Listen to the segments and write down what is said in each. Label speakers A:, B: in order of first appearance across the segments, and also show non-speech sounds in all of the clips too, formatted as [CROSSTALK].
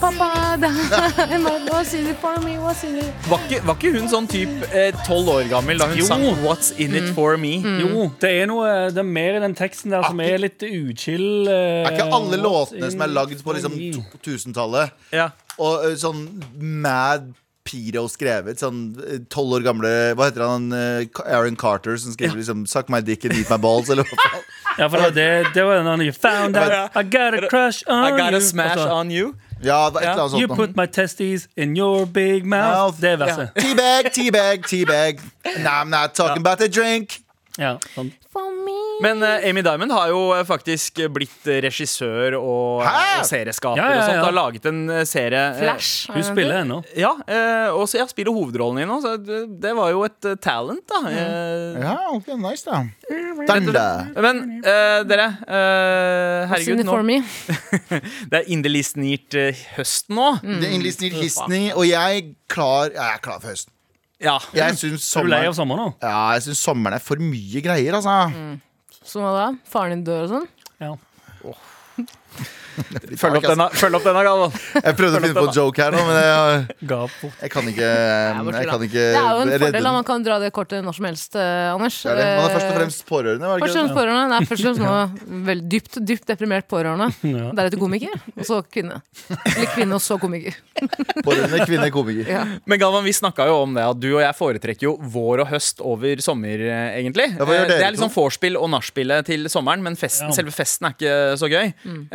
A: papa. What's in it for me? What's in it?
B: Var ikke, var ikke hun sånn type tolv år gammel da hun
C: Jo. Mm.
B: sang What's in it for me?
C: Jo, det er noe Det er mer i den teksten der som er litt uchill. eh,
D: Er ikke alle
C: what
D: låtene som er
C: in
D: lagd på liksom
C: for me?
D: 2000-tallet
B: Ja.
D: Og eh, sånn mad Piro skrevet Sånn tolv år gamle Hva heter han? eh, Ka- Aaron Carter som skriver liksom Suck my dick and eat my balls Eller hva
C: [LAUGHS]
D: faen
C: Ja, for det, det, det var den der You found
B: Ja.
C: out I got a crush on
B: I gotta
C: you.
B: smash
C: Og så,
B: on you.
D: Ja, det var et eller annet
C: You
D: sånt nå.
C: put my testes in your big mouth.
D: Mouth.
C: Det er verset.
D: Teabag, teabag, teabag Nah, I'm not talking about a drink
C: Ja, sånn.
A: For me.
B: Men eh, Amy Diamond har jo eh, faktisk blitt eh, regissør og,
D: Hæ?
B: og serieskaper
C: Ja, ja,
B: og sånt.
C: ja.
B: Har laget en eh, serie eh,
E: Flash.
C: Hun spiller ennå.
B: Ja, eh, og så jeg spiller hovedrollen i nå, så det, det var jo et eh, talent, da. Eh,
D: Ja, ok, nice da Thunder
B: Men eh, dere, eh,
E: What's in
B: herregud,
E: it
B: nå,
E: for me?
B: [LAUGHS] det er inderlig snirt eh, høst nå.
C: Mm.
D: Det er innlisten i Disney Og jeg klar, ja, jeg er klar for høsten
B: Ja.
D: Jeg synes
C: Mm. Er du lei av Mm. sommeren
D: sommeren,
C: nå?
D: ja, jeg synes sommeren er for mye greier altså.
E: Som hva da? Faren din dør og sånn?
C: Ja.
B: Følg opp denne, følg opp denne Galvan.
D: Jeg prøvde å finne på en joke her nå, men jeg,
C: Ga opp fort. [LAUGHS]
D: jeg kan ikke
E: borte,
D: Jeg
E: da.
D: kan ikke
E: Det er jo
D: Eh,
E: en
D: redde
E: fordel, da.
D: den.
E: Man kan dra det kortet når som helst, eh, Anders.
D: Det er det. Man er
E: Eh,
D: først og fremst pårørende, var det
E: Først
D: ikke
E: og
D: det?
E: fremst pårørende. Nei, først og
D: [LAUGHS]
E: fremst nå veldig dypt, dypt deprimert pårørende.
C: Ja.
E: Deretter komiker, og så kvinne. Eller kvinne, og så komiker.
D: Pårørende, kvinne, komiker.
E: Ja.
B: Men Galvan, vi snakka jo om det at du og jeg foretrekker jo vår og høst over sommer, eh, egentlig.
D: Ja, hva
B: Eh,
D: gjør
B: det
D: dere
B: er liksom vorspiel og nachspielet til sommeren, men festen,
C: Ja.
B: selve festen er ikke så gøy.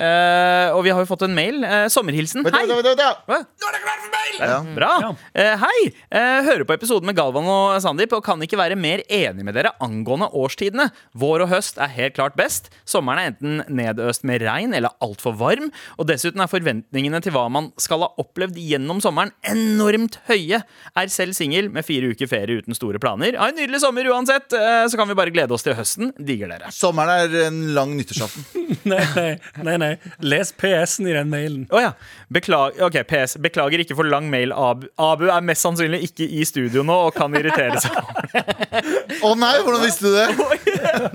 B: Eh, og vi har jo fått en mail. eh, sommerhilsen.
D: Vent,
B: Hei!
D: vent, vent, vent, vent.
B: Hva? Nå er det klart for mail!
D: Ja.
B: Bra.
C: Ja.
B: Eh, hei! Eh, hører på episoden med Galvan og Sandeep og kan ikke være mer enig med dere angående årstidene. Vår og høst er helt klart best. Sommeren er enten nedøst med regn eller altfor varm. Og dessuten er forventningene til hva man skal ha opplevd gjennom sommeren, enormt høye. Er selv singel med fire uker ferie uten store planer. Ha en nydelig sommer uansett, eh, så kan vi bare glede oss til høsten. Digger dere.
D: Sommeren er en lang nyttårsaften.
C: Nei, nei, nei, nei. Les PS-en i den mailen.
B: Å ja. Beklager, ok, PS. Beklager ikke for lang mail, Abu. Abu er mest sannsynlig ikke i studio nå og kan irritere seg.
D: Å nei, hvordan visste du det?
E: [LAUGHS]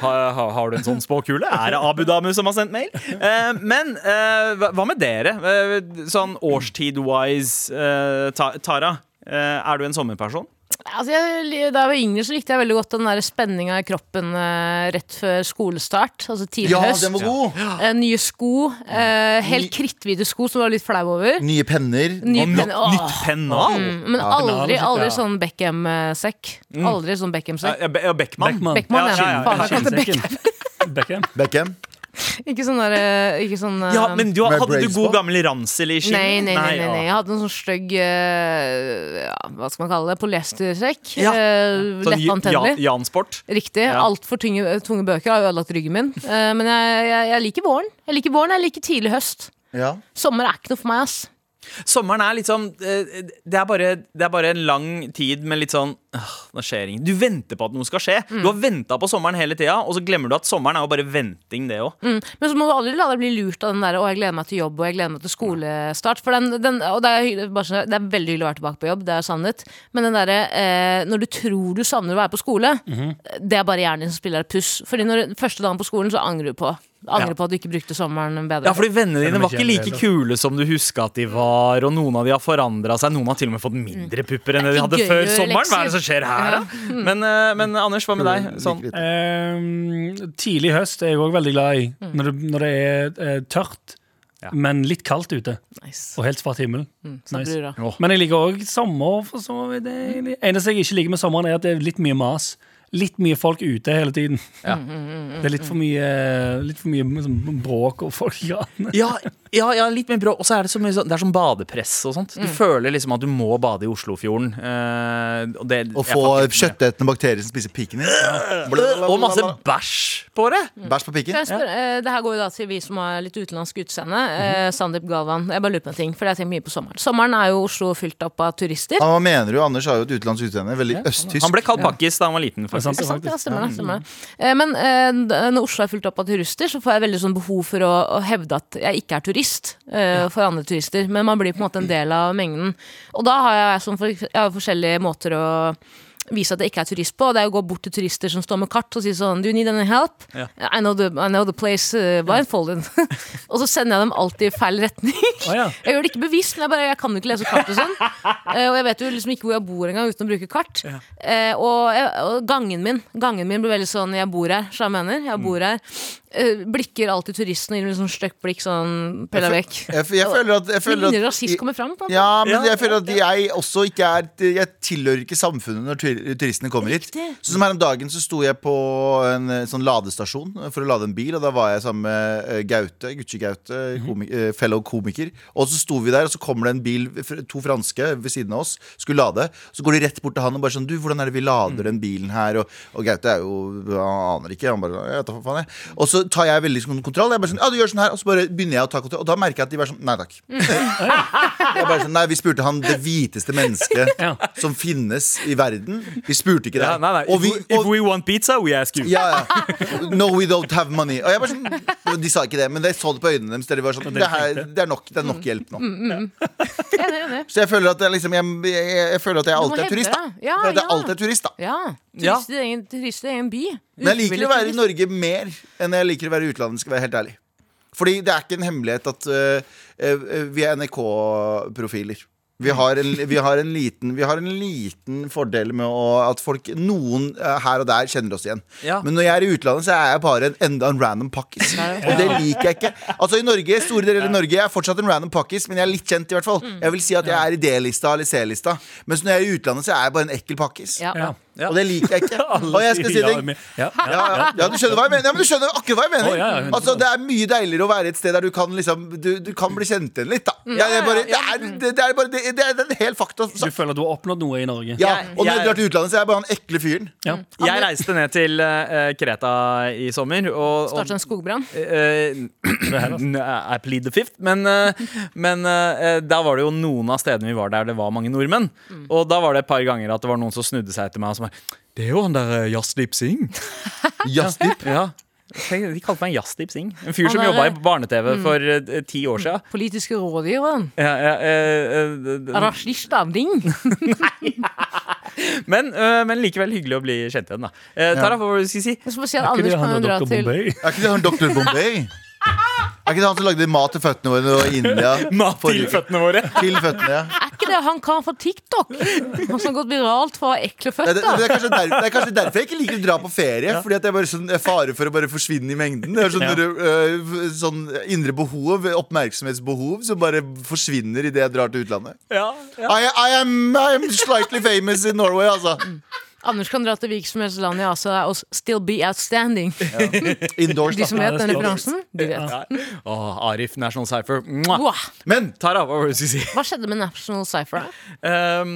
B: Ha- ha- har du en sånn spåkule? Er det Abu Dhamu som har sendt mail? Eh, men eh, hva hva med dere? Eh, sånn årstid-wise, eh, Ta- Tara. eh, er du en sommerperson?
E: [LAUGHS] Altså, jeg, da jeg var yngre, så likte jeg veldig godt den der spenninga i kroppen eh, rett før skolestart. Altså tidlig
D: Ja,
E: høst.
D: den var god.
E: Eh, nye sko. eh, helt kritthvite sko som jeg var litt flau over.
D: Nye penner.
E: Nye
B: Nytt-
E: penner. Åh.
B: Nytt pennal?
E: Mm, Men
C: pennal og
E: aldri,
C: shit,
E: aldri
C: ja.
E: sånn Beckham-sekk. Aldri sånn
B: Ja,
E: Beckham-sekk.
B: ja, Be- ja, Beckman.
C: Beckman.
E: Beckman, ja. Faen, jeg kalte
C: Skinnsekken. Beckham.
D: Beckham.
E: Ikke sånn der eh, Ikke sånn eh,
B: Ja, men du,
D: Med
B: hadde du
D: braids
B: god
D: på?
B: gammel ransel i skinn?
E: Nei, nei, nei, nei,
B: ja.
E: nei. Jeg hadde en sånn stygg eh, ja, Hva skal man kalle det? Polyestersekk.
B: Ja.
E: Eh,
B: Sånn
E: Lettantennelig.
B: Jan- Jansport.
E: Riktig.
B: Ja.
E: Altfor tunge, tunge bøker har ødelagt ryggen min. Eh, men jeg, jeg, jeg liker våren. Jeg liker våren, jeg liker tidlig høst.
D: Ja.
E: Sommer er ikke noe for meg, ass.
B: Sommeren er litt sånn eh, Det er bare, det er bare en lang tid med litt sånn «Åh, Nå skjer ingenting. Du venter på at noe skal skje.
E: Mm.
B: Du har venta på sommeren hele tida, og så glemmer du at sommeren er jo bare venting, det òg.
E: Mm. Men så må du aldri la deg bli lurt av den der 'å, jeg gleder meg til jobb' og 'jeg gleder meg til skolestart'. For den, den, og det er, hyggelig- bare, sånn- det er veldig hyggelig å være tilbake på jobb, det er sannhet. Men den derre eh, når du tror du savner å være på skole,
B: Mhm.
E: det er bare hjernen din som spiller deg et puss. Fordi når første dagen på skolen, så angrer du på Angrer
B: Ja.
E: på at du ikke brukte sommeren bedre.
B: Ja, fordi Vennene dine
C: Kjenner meg
B: var ikke
C: ikke
B: like
C: igjen,
B: kule som du huska at de var. Og Noen av de har forandra seg. Noen har til og med fått mindre pupper enn det de
E: Mm. ikke
B: hadde
E: gøy å
B: før
E: gjøre
B: sommeren. Hva er det
E: lekser.
B: som skjer her, da? Men, eh, men Anders, hva med deg? Sånn.
D: Like litt.
C: Ehm, tidlig høst er jeg òg veldig glad i.
E: Mm.
C: Når det, når det er eh, tørt,
B: Ja.
C: men litt kaldt ute.
E: nice. Mm,
C: Og helt svart himmel.
E: Så
C: nice.
E: blir det Mm. bra.
C: Men jeg liker òg sommer. For så vidt. Det det eneste jeg ikke liker med sommeren, er at det er litt mye mas. Litt mye folk ute hele tiden.
B: Ja.
E: Mm,
C: Det er litt for mye, litt for mye liksom, bråk og folk i gatene.
B: Ja, Ja, ja, litt mer brå. Og så er det så mye sånn Det er som badepress og sånt.
E: Mm.
B: Du føler liksom at du må bade i Oslofjorden. eh, og det,
D: Å
B: jeg
D: få
B: fatter ikke det.
D: kjøttetende bakterier som spiser piken din.
B: Og masse bæsj på det!
D: Bæsj på
E: Kan
D: piken.
E: jeg spørre, eh, det her går jo da til vi som har litt utenlandsk utseende. Eh,
B: Mhm.
E: Sandeep Galvan. Jeg bare lurer på en ting, for jeg har tenkt mye på sommeren. Sommeren er jo Oslo fylt opp av turister.
D: Ja, hva mener du? Anders har jo et utenlandsk utseende. Veldig østtysk.
B: Han ble kalt pakkis da han var liten. faktisk
C: sant, det er
E: Sant,
C: faktisk.
E: ja, stemmer det. Stemmer det. Eh, Men eh, d- når Oslo er fylt opp av turister, så får jeg veldig sånn behov for å, å hevde at jeg ikke er turist eh, for andre turister. Men man blir på en måte en del av mengden. Og da har jeg, sånn for, jeg har forskjellige måter å vise at jeg ikke er turist på. og Det er å gå bort til turister som står med kart og si sånn Do you need any help?
B: Ja.
E: I, know the, I know the place uh, blindfolded. [LAUGHS] og så sender jeg dem alltid i feil retning.
C: Å, ja.
E: Jeg gjør det ikke bevisst, men jeg, bare, jeg kan jo ikke lese kart
D: [LAUGHS]
E: og sånn. Eh, og jeg vet jo liksom ikke hvor jeg bor engang uten å bruke kart. Eh, og, jeg, og gangen min Gangen min blir veldig sånn 'jeg bor her', så jeg mener. Jeg
D: Mm.
E: bor her. Eh, blikker alltid turisten og gir meg sånn stygt blikk, sånn pella vekk.
D: Jeg, f- jeg føler at, jeg føler
E: Mindre
D: at
E: rasist kommer fram. På. en måte.
D: ja, men jeg føler at jeg også ikke er Jeg tilhører ikke samfunnet når tur- turistene kommer hit.
E: Riktig.
D: Så som her om dagen så sto jeg på en eh, sånn ladestasjon for å lade en bil, og da var jeg sammen med eh, Gaute, Gucci Gaute, komi eh, fellow komiker. Og så sto vi der, og så kommer det en bil, fr- to franske ved siden av oss, skulle lade. Så går de rett bort til han og bare sånn Du, hvordan er det vi lader den bilen her? Og, og Gaute er jo Han aner ikke. Han bare Jeg vet da faen, jeg. Og så tar jeg veldig sånn kontroll. Jeg bare sånn Ja, du gjør sånn her. Og så bare begynner jeg å ta kontroll, og da merker jeg at de bare sånn Nei takk. Jeg bare sånn, nei, Vi spurte han det hviteste mennesket
C: Ja.
D: som finnes i verden. Vi spurte ikke det.
B: Ja, nei, nei.
D: Og vi,
B: If, we, if
D: og,
B: we want pizza, we ask you.
D: ja, ja. No, we don't have money. Og jeg bare sånn, De sa ikke det, men jeg så det på øynene deres. Der de var sånn, det, her, det, er nok, det er nok hjelp nå.
E: Enig, enig.
D: Så jeg føler at jeg, liksom, jeg, jeg, jeg, føler at jeg
E: Du må
D: alltid
E: hevde
D: er turist. da
E: deg. Ja,
D: Jeg føler at jeg
E: ja.
D: alltid er turist da
E: Ja.
B: Ja.
E: Turist i egen, turist i egen by.
D: Men jeg liker
E: Ufrivillig
D: å være i
E: turist.
D: Norge mer enn jeg liker å være i utlandet. skal jeg være helt ærlig Fordi det er ikke en hemmelighet at øh, øh, vi er NRK-profiler. Vi har, en, vi, har en liten, vi har en liten fordel med å, at folk, noen eh, her og der kjenner oss igjen.
B: Ja.
D: Men når jeg er i utlandet, så er jeg bare en, enda en random pakkis. Og det liker jeg ikke. Altså i Norge, Store deler av Norge jeg er fortsatt en random pakkis, men jeg er litt kjent. i hvert fall Jeg vil si at jeg er i D-lista eller C-lista. Mens når jeg er i utlandet, så er jeg bare en ekkel pakkis.
E: Ja.
C: Ja.
B: Ja.
D: Og det liker jeg ikke. Og jeg skal si
C: Ja,
D: deg
C: men- ja, ja.
D: ja, ja. ja, du skjønner hva jeg mener. Ja, men du skjønner akkurat hva jeg mener.
C: Å, ja, ja, hundre
D: altså,
C: prosent.
D: det er mye deiligere å være et sted der du kan liksom Du, du kan bli kjent igjen litt, da. Mm. Ja, det, er bare, det, er, det, det er bare Det, det er en hel fakta.
C: Du føler at du har oppnådd noe i Norge?
D: Ja,
B: Jeg-
D: og når
B: jeg-
D: jeg drar til utlandet, så er jeg bare han ekle fyren.
C: Ja.
B: Jeg reiste ned til eh, Kreta i sommer. Og, og
E: Starter en skogbrann.
B: Eh, I plead the fifth. Men, eh, men eh, da var det jo noen av stedene vi var der det var mange nordmenn. Og da var det et par ganger at det var noen som snudde seg etter meg og som bare Det er jo han der eh, Jasdeep Singh.
D: Jazzdyp.
B: [LAUGHS] Ja. De kalte meg Jasdeep Singh. En fyr
E: Han
B: som
E: er-
B: jobba i barne-TV for eh, ti år sia.
E: Politiske rådgiveren.
B: Ja, ja, eh, eh,
D: Mm.
E: Rashid Avding.
B: men, eh, men likevel hyggelig å bli kjent igjen, da. Eh, Tara, hva var det du skulle si?
E: Jeg skal bare si at
C: Er ikke
E: Anders
C: det han
E: kan
C: og
E: jo dra
C: Dr.
E: til
C: Bombay?
D: Er ikke det han Dr. Bombay? Er ikke det han som lagde mat til føttene våre i
C: [LAUGHS]
D: India?
B: Mat til
D: forrige uke?
B: føttene våre.
D: Til føttene, ja.
E: Er ikke det han kan fra TikTok? Han som har gått viralt for å ha ekle
D: Det, det, det,
E: føtter.
D: er kanskje der, det er kanskje derfor jeg ikke liker å dra på ferie. Fordi at jeg bare sånn, jeg er fare for å bare forsvinne i mengden. Det er sånn,
C: Ja.
D: øh, sånn indre behov, oppmerksomhetsbehov, som bare forsvinner idet jeg drar til utlandet.
B: [LAUGHS] Ja, ja.
D: I, I, am, I am slightly famous in Norway, altså.
E: Anders kan dra til hvilket som helst land i Asia og still be outstanding.
D: Indoors,
E: De som
D: da.
C: Ja, det
E: vet den
C: skal-
E: referansen, de vet.
B: Åh, Arif, National Cypher. Mwah.
E: Wow.
D: Men
B: Tara, hva var det du skulle si?
E: Hva skjedde med National Cypher?
B: Ehm,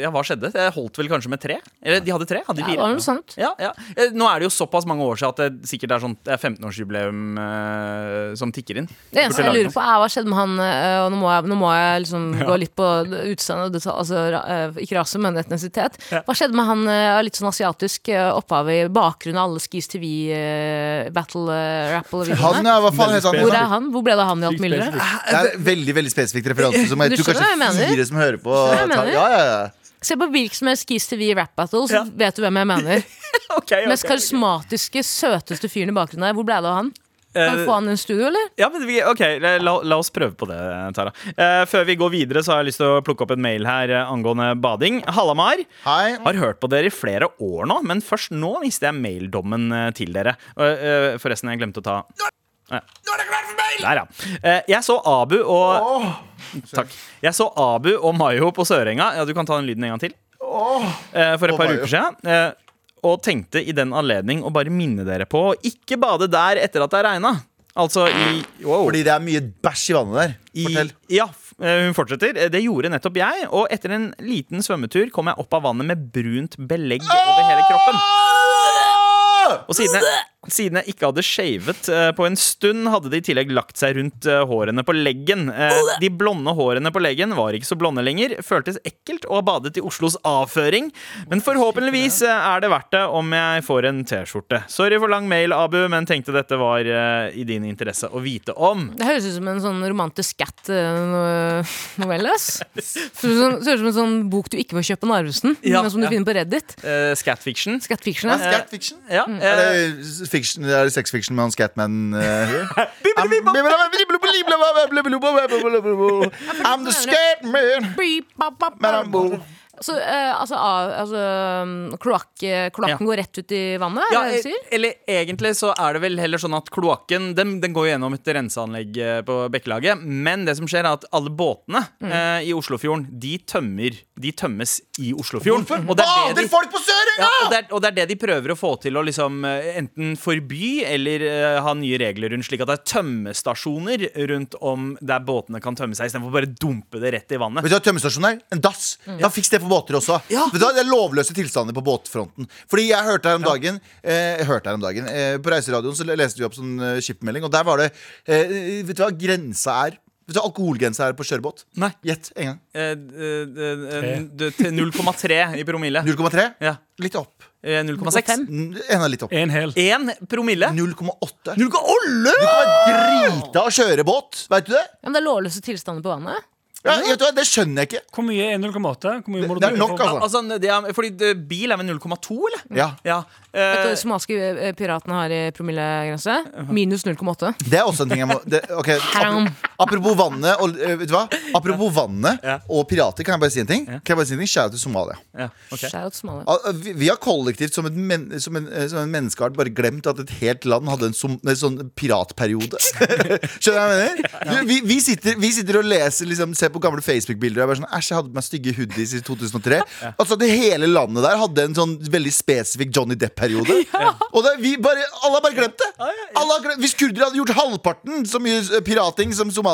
B: ja, hva skjedde? Det holdt vel kanskje med tre? Eller de hadde tre? Hadde de
E: Ja, det
B: fire?
E: var noe sånt.
B: Ja, ja. Eh, Nå er det jo såpass mange år siden at det sikkert er sånn det er 15-årsjubileum eh, som tikker inn. [LAUGHS]
E: Det
B: Burde
E: eneste jeg
B: lage
E: lurer på, er hva skjedde med han eh, Og nå må jeg, nå må jeg liksom gå litt på utseendet, og detal- altså ra- eh, ikke rase, men etnisitet. Hva skjedde med han eh, av litt sånn asiatisk eh, opphav i bakgrunnen av alle Skis TV, eh, Battle eh,
D: han,
E: Rapple-videoene?
D: ja, hva faen heter
E: Hvor
D: han?
E: er han? Hvor ble det av han i alt mulig?
C: [LAUGHS] Spesifikt.
D: Det er en veldig veldig spesifikk referanse som jeg
E: Du
D: tror
E: skjønner hva jeg
D: kanskje
E: mener?
D: fire som hører på.
E: hva jeg
D: tar-
E: mener?
D: Ja, ja, ja.
E: Se på hvilken som helst Skis TV Rap Battle, så
B: Ja.
E: vet du hvem jeg
B: [LAUGHS]
E: mener.
B: Ok, ok,
E: Mest
B: ok.
E: karismatiske, søteste fyren i bakgrunnen her. Hvor ble det av han? Kan vi
B: Eh,
E: få han i en studio, eller?
B: Ja, men vi, ok, la, la- la oss prøve på det, Tara. Eh, før vi går videre, så har jeg lyst til å plukke opp en mail her eh, angående bading. Hallamar.
D: Hei.
B: Har hørt på dere i flere år nå, men først nå visste jeg maildommen eh, til dere. Eh, eh, forresten, jeg glemte å ta Nå er det klart for mail! Der, ja. Eh, jeg så Abu og Takk. Jeg så Abu og Mayo på Sørenga. Ja, du kan ta den lyden en gang til. Eh, for et
D: Og
B: par
D: Mayo.
B: uker siden. eh, og tenkte i den anledning å bare minne dere på å ikke bade der etter at det har regna. Altså i wow.
D: Fordi det er mye bæsj i vannet der.
B: I-
D: Fortell.
B: Ja, f- eh, hun fortsetter. Eh, Det gjorde nettopp jeg, og etter en liten svømmetur kom jeg opp av vannet med brunt belegg over hele kroppen. Og siden jeg, siden jeg ikke hadde shavet eh, på en stund, hadde det i tillegg lagt seg rundt eh, hårene på leggen. Eh, de blonde hårene på leggen var ikke så blonde lenger, føltes ekkelt og badet i Oslos avføring. Men forhåpentligvis eh, er det verdt det om jeg får en T-skjorte. Sorry for lang mail, Abu, men tenkte dette var eh, i din interesse å vite om.
E: Det høres ut som en sånn romantisk eh, scat-novelle. Ser ut som- ser ut som en sånn bok du ikke får kjøpe på Narvesen,
B: Ja,
E: men som du
B: ja.
E: finner på Reddit.
B: Eh, Scatfiction.
E: Scat-fiction.
D: Ja,
E: ja.
D: scat fiction.
B: Ja,
D: Er
B: eh,
D: det fiction, er det sex fiction med han Scatman eh, her? I'm I'm the Scatman.
E: Beep, bap, bap,
D: Men han bor-
E: Så eh, altså, av, altså um, kloakk, eh, kloakken
B: Ja.
E: går rett ut i vannet?
B: ja, e-
E: er det det du sier?
B: eller egentlig så er det vel heller sånn at kloakken den, den går jo gjennom et renseanlegg eh, på Bekkelaget. Men det som skjer, er at alle båtene
E: Mm.
B: eh, i Oslofjorden de, tømmer, de tømmes i Oslofjorden.
D: Hvorfor
B: Og det er det
D: bader
B: de-
D: folk på Sørenga?!
B: ja, og, det er, og det er det de prøver å få til å liksom eh, enten forby eller eh, ha nye regler rundt, slik at det er tømmestasjoner rundt om der båtene kan tømme seg, istedenfor bare dumpe det rett i vannet.
D: Vet du hva tømmestasjonen er? En dass. Da fiks det på båter også. Vet du hva, Det er lovløse tilstander på båtfronten. Fordi jeg hørte her om dagen, eh, jeg hørte her om dagen eh, På Reiseradioen så leste vi opp sånn eh, skipmelding, og der var det eh, Vet du hva grensa er? Vet du hva alkoholgrensa er på kjørebåt?
B: Nei.
D: Gjett en gang.
B: Eh, eh, eh, d- til 0,3 i promille.
D: 0,3?
B: Ja,
D: Litt opp.
B: eh, 0,6.
D: N- Enda litt opp.
C: En hel.
B: Én promille?
D: 0,8.
B: Du kan olle!
D: Du kan være drita og kjøre båt. Veit du det?
E: Ja, men det er lårløse tilstander på vannet?
D: Ja, vet du hva, Det skjønner jeg ikke.
C: Hvor mye er 0,8? Hvor mye må du
D: Det er nok,
C: for-
D: altså.
B: Altså, det er, fordi det- bil er vel 0,2, eller?
D: Ja,
B: Ja.
E: Vet du
B: eh,
E: hva de somaliske eh, piratene har i promillegrense? Minus 0,8.
D: Det er også en ting jeg må det, ok,
B: [LAUGHS]
E: Haram.
D: apro- Apropos vannet og, eh, Vet du hva? Apropos vannet
B: Ja.
D: og pirater, kan jeg bare si en ting? Kan jeg bare si en ting? Kjære til Somalia.
B: ja, ok.
E: Shout Somalia.
D: Al- Vi, vi har kollektivt som en, men, som, en, eh, som en menneskeart bare glemt at et helt land hadde en, som, en sånn piratperiode. Skjønner du hva jeg mener? Vi, vi, sitter, vi sitter og leser liksom, ser på gamle Facebook-bilder og er bare sånn Æsj, jeg hadde på meg stygge hoodies i 2003. Altså at Hele landet der hadde en sånn veldig spesifikk Johnny Depp-periode. Og det, vi bare, alle har bare glemt det. Alle har glemt, hvis kurdere hadde gjort halvparten så mye eh, pirating som somalierne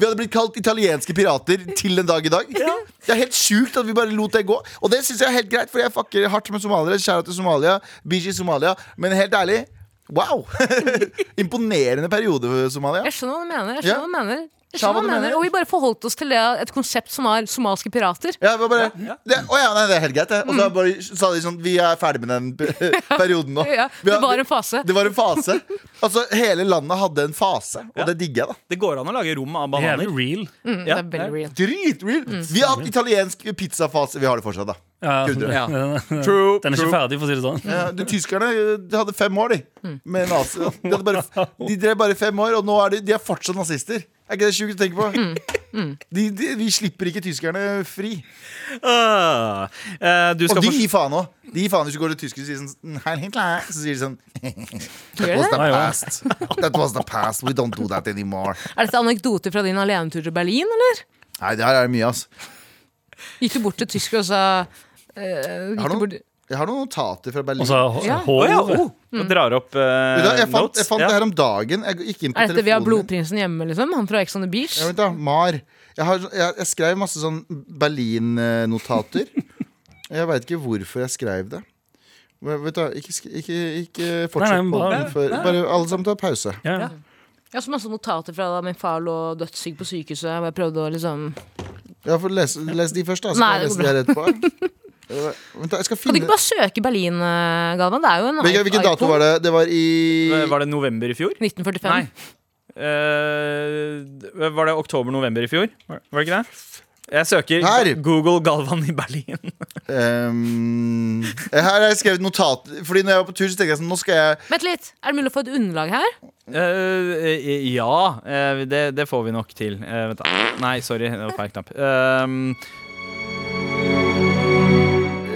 D: Vi hadde blitt kalt italienske pirater til den dag i dag. Det er helt sjukt at vi bare lot det gå. Og det syns jeg er helt greit, for jeg fucker hardt med somaliere. Kjære til Somalia. BG Somalia. Men helt ærlig, wow! [LAUGHS] Imponerende periode, Somalia.
E: Jeg skjønner hva du mener. Jeg
D: Ja.
E: skjønner hva du mener. Jeg
D: Sa hva
E: skjønner hva
D: du
E: du mener.
D: mener.
E: Og vi bare forholdt oss til det, et konsept som var somalske pirater.
D: Ja, det var bare, Det, å ja, nei, det er helt greit, det. Og
E: Mm.
D: så bare, sa de sånn Vi er ferdig med den
E: [LAUGHS]
D: p- perioden nå.
E: Ja,
D: Vi har-
E: det var en fase.
D: Det var en fase. Altså, hele landet hadde en fase, og det digger jeg, da.
B: Det går an å lage rom av bananer.
C: Jævlig real.
E: Mm,
B: Ja.
E: Det er veldig real.
D: Dritreal!
E: Mm.
D: Vi har hatt italiensk pizzafase. Vi har det fortsatt, da.
C: Ja,
D: Kurdere.
B: Ja.
C: den-
B: True,
C: [LAUGHS] Den er
B: true.
C: ikke ferdig, for å si det
E: Mm.
C: sånn.
D: Ja, de tyskerne eh, de hadde fem år, de. Med nazi. De, hadde bare, de drev bare fem år, og nå er de, de er fortsatt nazister. Er ikke det sjukt å tenke
E: Mm.
D: på? De, de, vi slipper ikke tyskerne fri.
B: Ah, eh, du skal
D: Og de
B: få-
D: gir faen òg. De gir faen hvis du går til tyskere og sier sånn "Heil Hitler", Så sier de sånn That
E: Gjør
D: was
E: det?
D: the
C: Nei, jo.
D: past. [LAUGHS] That was the past. We don't do that anymore.
E: Er dette anekdoter fra din alenetur til Berlin, eller?
D: Nei, det her er mye, ass.
E: Gikk du bort til tyskere og sa eh, gikk
D: Har
E: du
D: du-
E: bort...
D: Jeg har noen notater fra Berlin.
C: Og så h-
E: Ja.
B: Å ja,
C: håret.
B: oh, og drar opp eh,
D: Vet du hva, jeg fant,
B: notes.
D: jeg fant
B: Ja.
D: det her om dagen. Jeg gikk inn på
E: Er dette vi har
D: telefonen min.
E: blodprinsen hjemme, liksom? Han fra Ex on the Beach?
D: Ja, vent da, Mar. Jeg, har, jeg, jeg skrev masse sånn Berlin-notater. [LAUGHS] Jeg veit ikke hvorfor jeg skrev det. Men Vet du, hva, ikke, sk- ikke, ikke fortsett
C: Nei, nei,
D: på
C: bare-
D: den før. Bare alle sammen tar pause.
C: Ja. ja.
E: Jeg har så masse notater fra da min far lå dødssyk på sykehuset. Og jeg prøvde å liksom Kan
D: Ja, får lese, les de først, da. Så
E: Nei,
D: kan jeg lese de her etterpå. [LAUGHS] Eh, Vent, da, jeg skal
E: du ikke
D: finne
E: bare søke Berlin, eh, Galvan? Det er jo en
D: Hvilken, hvilken dato var det? Det var i
B: Eh, Var det november i fjor?
E: 1945.
B: Nei. Eh, d- var det oktober-november i fjor? Var var det ikke det? Jeg søker
D: Her.
B: Google Galvan i Berlin.
D: ehm, Her har jeg skrevet notat. Fordi når jeg var på tur, så tenkte jeg sånn Nå skal jeg
E: Vent litt! Er det mulig å få et underlag her?
B: Eh, ja, eh, det, det får vi nok til. Eh, vent da. Nei, sorry, det var feil knapp. Ehm,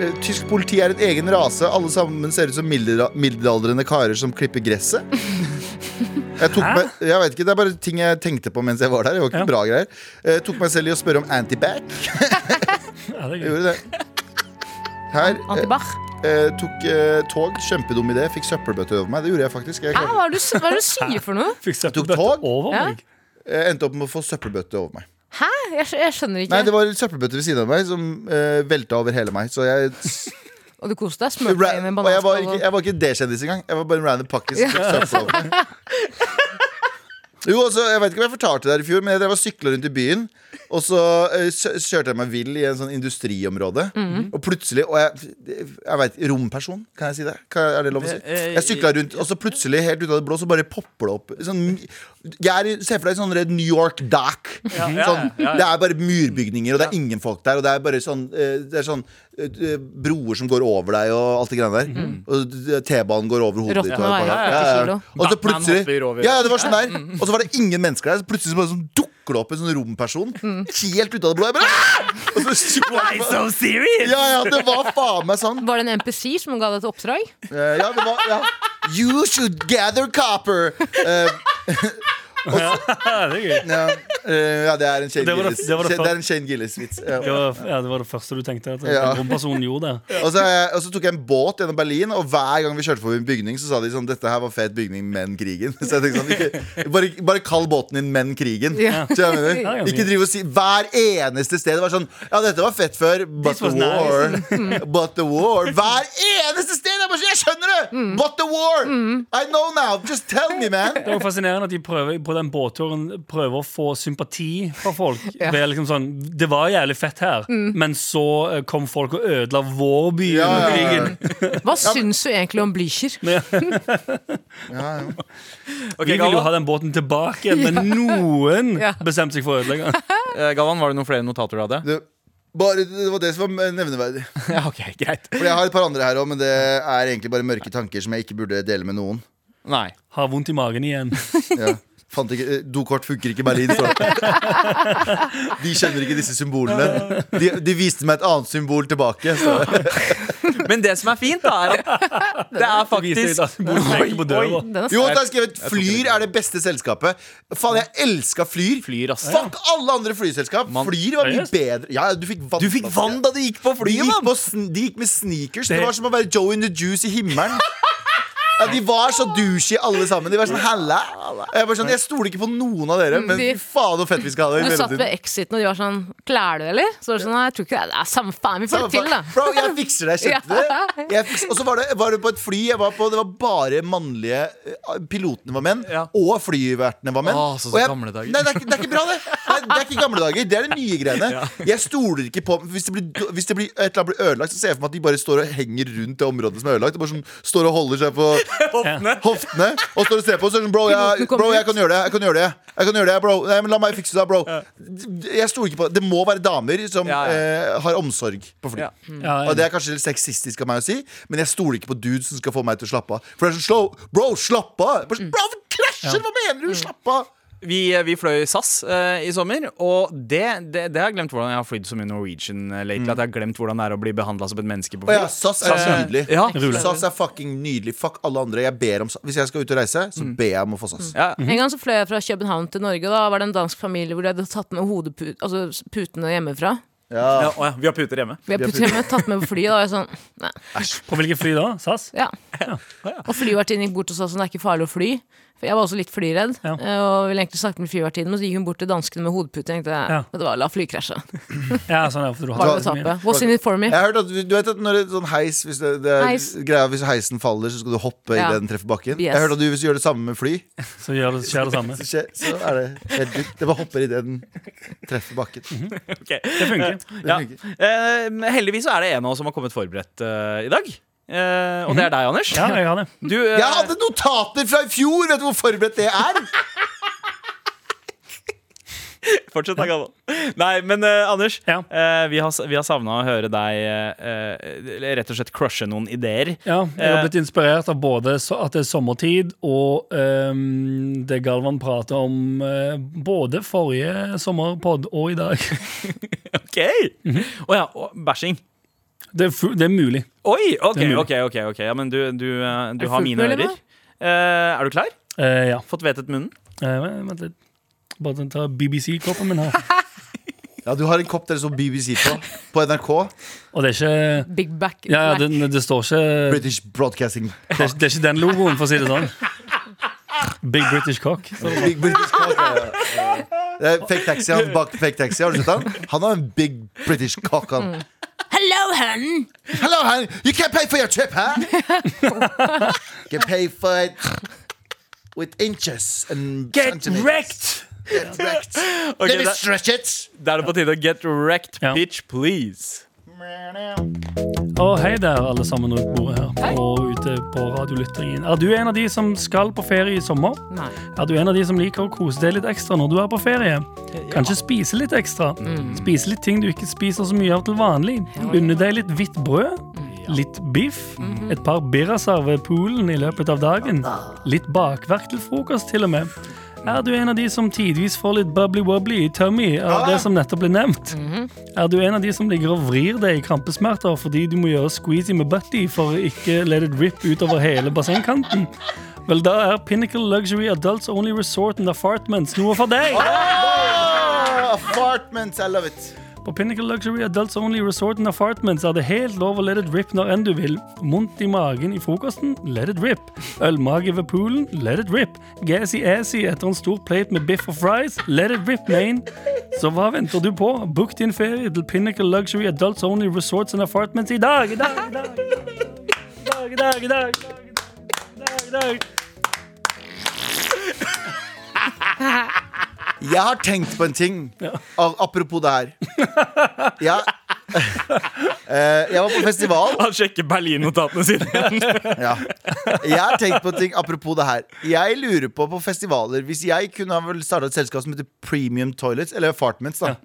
D: Eh, Tysk politi er en egen rase. Alle sammen ser ut som middelra- middelaldrende karer som klipper gresset. Jeg, tok meg, jeg vet ikke, Det er bare ting jeg tenkte på mens jeg var der. Det var ikke
C: Ja.
D: bra greier Jeg tok meg selv i å spørre om antibac.
C: Ja, det er
D: Jeg
C: gøy.
D: gjorde det. Her. eh,
E: Antibach?
D: eh, tok eh, tog. Kjempedum idé. Fikk søppelbøtte over meg. Det gjorde jeg faktisk. Jeg
E: Hæ,
D: klarte-
E: hva er det du, s- hva er det du sier for noe?
C: Fikk
D: tok
C: søppelbøtte
D: tog?
C: over
E: Ja.
C: meg.
D: jeg endte opp med å få søppelbøtte over meg.
E: Hæ? Jeg, skj- jeg skjønner ikke.
D: Nei, det var søppelbøtter ved siden av meg som eh, velta over hele meg. Så jeg,
E: Og du koste deg? Smurte deg inn i en
D: og jeg var
E: bananskall?
D: ikke,
E: og-
D: jeg var ikke D-kjendis engang. Jeg var bare en random pakkis. som fikk søppel over meg. Jo, altså, Jeg vet ikke om jeg fortalte det her i fjor, men jeg drev og sykla rundt i byen. Og så eh, sø- kjørte jeg meg vill i en sånn industriområde. Og plutselig Og jeg, jeg veit Romperson, kan jeg si det? Kan, er det lov å si?
B: Eh, eh,
D: Jeg sykla rundt, og så plutselig, helt ut av det blå, så bare popper det opp. Sånn, jeg er, i- Se for deg sånn Red New York Dock. Sånn,
B: ja, ja.
D: Det er bare murbygninger, og det er ingen folk der. Og det er bare sånn, eh, det er sånn eh, broer som går over deg, og alt det greiene der.
B: Mhm.
D: Og d- d- T-banen går over hodet
E: Rottene
D: ditt. og
E: veier
D: bare-
E: ikke kilo.
D: Og
B: Batman hopper over.
D: så
B: Mhm.
D: plutselig Ja, ja, det var sånn der. Og så var det ingen mennesker der. Så plutselig så bare sånn dukker det opp en sånn romperson helt ut av det blå. Jeg bare, «Ah!» og så,
B: Mhm. Why so serious?
D: ja, ja, det var faen meg sånn.
E: Var det en NPC som ga deg et oppdrag?
D: Eh, ja, det var ja. You should gather copper! Eh,
C: Ja, det er gøy.
D: ja, eh, ja, det er en Shane
C: Det var det-
D: Gillis-
C: det var det
D: Shane- det
C: for-
D: er en Shane Gillis-vits. Ja.
C: Det var, ja, det var det første du tenkte? At
D: Ja.
C: den rompersonen gjorde det?
D: Og, så, eh, og så tok jeg en båt gjennom Berlin, og hver gang vi kjørte forbi en bygning, så sa de sånn Dette her var fet bygning, men krigen. [LAUGHS] Så jeg tenkte sånn ikke, bare, bare kall båten din Men krigen.
E: Ja.
D: Så jeg mener,
C: Ja, det er
D: ikke
C: fint.
D: drive og si Hver eneste sted var sånn Ja, dette var fett før, but
C: This
D: the
C: was nice.
D: war. [LAUGHS] But the war. Hver eneste sted! Jeg bare sånn, jeg skjønner det!
C: Mm.
D: But the war! I know now! Just tell me, man!
C: Det er jo fascinerende at de prøver, på den båtturen prøver å få sympati fra folk.
E: Ja. Mm.
C: Ved liksom sånn, Det var jævlig fett her, men så eh, kom folk og ødela vår by.
D: Ja,
C: under
D: ja, ja.
C: krigen.
E: Hva syns du egentlig om Blücher?
B: Ok,
C: Vi vil jo ha
B: Galvan,
C: den båten tilbake, igjen,
E: [LAUGHS]
C: men noen
E: Ja.
C: bestemte seg for å ødelegge
D: [LAUGHS]
C: den.
B: Eh, Galvan, var det noen flere notater du hadde?
D: Det, bare, det var det som var nevneverdig.
B: Ja, ok, greit
D: For jeg har et par andre her òg, men det er egentlig bare mørke tanker som jeg ikke burde dele med noen.
B: Nei
C: Har vondt i magen igjen.
D: Ja. Fant ikke, eh, dokort funker ikke i Berlin, står det. De kjenner ikke disse symbolene. De, de viste meg et annet symbol tilbake. Så.
B: Men det som er fint da, er [LAUGHS] at det er
C: Viser litt
B: faktisk
C: at hun peker på døra.
E: Den er
D: Jo, da har jeg skrevet Flyr er det beste selskapet. Faen, jeg elska Flyr.
B: [LAUGHS] Flyr, ass.
D: Fuck alle andre flyselskap.
B: Man-
D: Flyr var mye
C: Seriøst?
D: bedre. Ja, du fikk vann.
B: Du fikk vann da du gikk på
D: de,
B: flyet,
D: gikk
B: mann
D: på sn de gikk med sneakers. Det
C: Det-
D: var som å være Joe in the Juice i himmelen. Ja, De var så douchey alle sammen. De var sånn, halla Jeg, bare sånn, jeg stoler ikke på noen av dere, men
E: De-
D: fy faen hvor fett vi skal ha det. i
E: Du satt
D: mellomtiden.
E: ved exiten, og de var sånn Klær du, eller? Så var det sånn, nei, jeg tror ikke det. Det er samme faen, vi får det til, da.
D: Bro, jeg fikser
E: [LAUGHS]
D: det. Jeg kjente det. Jeg fikser, og så var det, var det på et fly jeg var på, det var bare mannlige eh, Pilotene var menn,
B: Ja.
D: og flyvertene var menn.
B: Å, så
D: Og jeg-
B: gamle dager.
D: Nei, det er, ikke- det er ikke bra, det. Det er, det er ikke gamle dager. Det er de nye
B: [LAUGHS]
D: greiene. Jeg stoler ikke på Hvis det blir, hvis det blir et eller annet blir ødelagt, så ser jeg for meg at de bare står og henger rundt det området som er ødelagt. Og bare sånn, står og holder seg
B: [LAUGHS]
D: på hoftene og står og ser på. Og så er det sånn, bro, jeg,
E: Piloten kommer
D: bro, jeg
E: ut.
D: kan gjøre det. Jeg kan gjøre det, jeg kan gjøre det bro. Nei, men la meg fikse det, bro. Jeg stoler ikke på Det må være damer som
B: Ja, ja.
D: Eh, har omsorg på fly.
B: Ja.
C: Ja,
D: Og det er kanskje litt sexistisk av meg å si, men jeg stoler ikke på dudes som skal få meg til å slappe av. For det er sånn, slow, bro, slapp av!
B: Mm.
D: Bare sånn, Bro, vi krasjer! Hva mener du? Slapp av!
B: Vi, vi fløy SAS eh, i sommer, og det, det, det har jeg glemt hvordan jeg har flydd så mye Norwegian eh, lately. At jeg har glemt hvordan det er å bli behandla som et menneske på
D: Og
B: fly.
D: ja, SAS er nydelig.
B: Ja.
D: SAS er fucking nydelig. Fuck alle andre. Jeg ber om SAS. Hvis jeg skal ut og reise, så ber jeg om å få SAS.
B: Mm. Ja.
E: En gang så fløy jeg fra København til Norge, og da var det en dansk familie hvor de hadde tatt med hodeput, altså putene hjemmefra.
B: Ja, å ja, vi har puter hjemme.
E: Vi har putt- hjemme, tatt med på flyet, da. og Jeg sånn, nei,
C: På hvilket fly da? SAS?
E: ja. Og flyvertinnen gikk bort og sa sånn, det er ikke farlig å fly. For jeg var også litt flyredd,
C: Ja.
E: eh, og ville egentlig snakke med flyvertinnen, men så gikk hun bort til danskene med hodepute. Jeg tenkte,
C: Ja.
E: vet du hva, la fly krasje.
C: Ja, sånn, ja, for du
E: Hva
C: har
E: er det å
C: så mye.
E: tape? What's in it for me?
D: Jeg har hørt at du vet at når det er sånn heis Hvis, det, det er,
E: Heis.
D: Greia, hvis heisen faller, så skal du hoppe
E: Ja.
D: idet den treffer bakken. Jeg
E: Yes.
D: har hørt at du, Hvis du gjør det samme med fly,
C: Så gjør det, skjer det samme.
D: så, skje- så er det helt dutt. Det bare hopper idet
B: [LAUGHS]
D: den treffer bakken.
C: Det funker.
B: Ja.
D: funker.
B: Eh, men heldigvis så er det en av oss som har kommet forberedt eh, i dag. Eh, og det er deg, Anders.
C: Ja, jeg har det.
B: Du, eh,
D: Jeg hadde notater fra i fjor! Vet du hvor forberedt det er?
B: Fortsett, da, Galvan. Nei, men eh, Anders.
C: Ja.
B: eh, vi har, s- vi har savna å høre deg eh, eh, rett og slett crushe noen ideer.
C: Ja, jeg har blitt inspirert av både så- at det er sommertid, og ehm, det Galvan prater om eh, både forrige sommerpod og i dag. [LAUGHS]
B: Ok! Å ja, og bæsjing.
C: Det er, fu- det er mulig.
B: Oi! OK,
C: Det er mulig.
B: ok, ok. ok Ja, Men du, du, eh, du
E: det
B: har
E: fullt
B: mine
E: mulig,
B: ører. Eh, er du klar?
C: Eh, ja.
B: Fått hvettet munnen?
C: Eh, vent litt. Bare ta BBC-koppen min her.
D: Ja, du har en kopp der det står BBC på, på NRK.
C: Og det er ikke
E: Big back.
C: ja,
E: black.
C: det, det står ikke det,
D: British Broadcasting.
C: er ikke- det er ikke den logoen, for å si det sånn. Big British Cock. Så-
D: Big British cock. ja, ja, ja. Det er Fake taxi, han bak fake taxi. Har du sett han? Han har en big British cock. Han.
E: Hello, hun!
D: Hello, honey. You can't pay for your trip, huh? you can pay for it with inches and
B: Get
D: centimeters.
B: wrecked!
D: Get wrecked.
B: Ok,
D: Let me
B: da,
D: stretch it.
B: da er det på tide å get wrecked,
C: Ja.
B: bitch, please.
C: Og hei der, alle sammen rundt bordet her og ute på radiolyttingen. Er du en av de som skal på ferie i sommer?
E: Nei.
C: Er du en av de som liker å kose deg litt ekstra når du er på ferie? Kanskje spise litt ekstra? Spise litt ting du ikke spiser så mye av til vanlig? Unne deg litt hvitt brød? Litt biff? Et par birraser ved poolen i løpet av dagen? Litt bakverk til frokost, til og med? Er du en av de som tidvis får litt bubbly-wobbly i tummy av det som nettopp ble nevnt? Er du en av de som ligger og vrir deg i krampesmerter fordi du må gjøre squeezy med butty for å ikke let it rip utover hele bassengkanten? Vel, da er Pinnacle Luxury Adults Only Resort and Apartments noe for deg!
D: Ah, Apartments, I love it.
C: På Pinnacle Luxury Adults Only Resort and Apartments er det helt lov å let it rip når enn du vil. Vondt i magen i frokosten? Let it rip. Ølmage ved poolen? Let it rip. Gassy-assy etter en stor plate med biff og fries? Let it rip, man. Så hva venter du på? Book din ferie til Pinnacle Luxury Adults Only Resorts and Apartments i dag! I dag, i dag, i dag, i dag, i dag, i dag, i dag, i dag.
D: Jeg har tenkt på en ting. Al- Apropos det her. Ja. Eh, jeg var på festival.
B: Han sjekker Berlin-notatene sine.
D: Ja. Jeg har tenkt på en ting apropos det her. Jeg lurer på på festivaler Hvis jeg kunne ha vel starta et selskap som heter Premium Toilets, eller Apartments, da.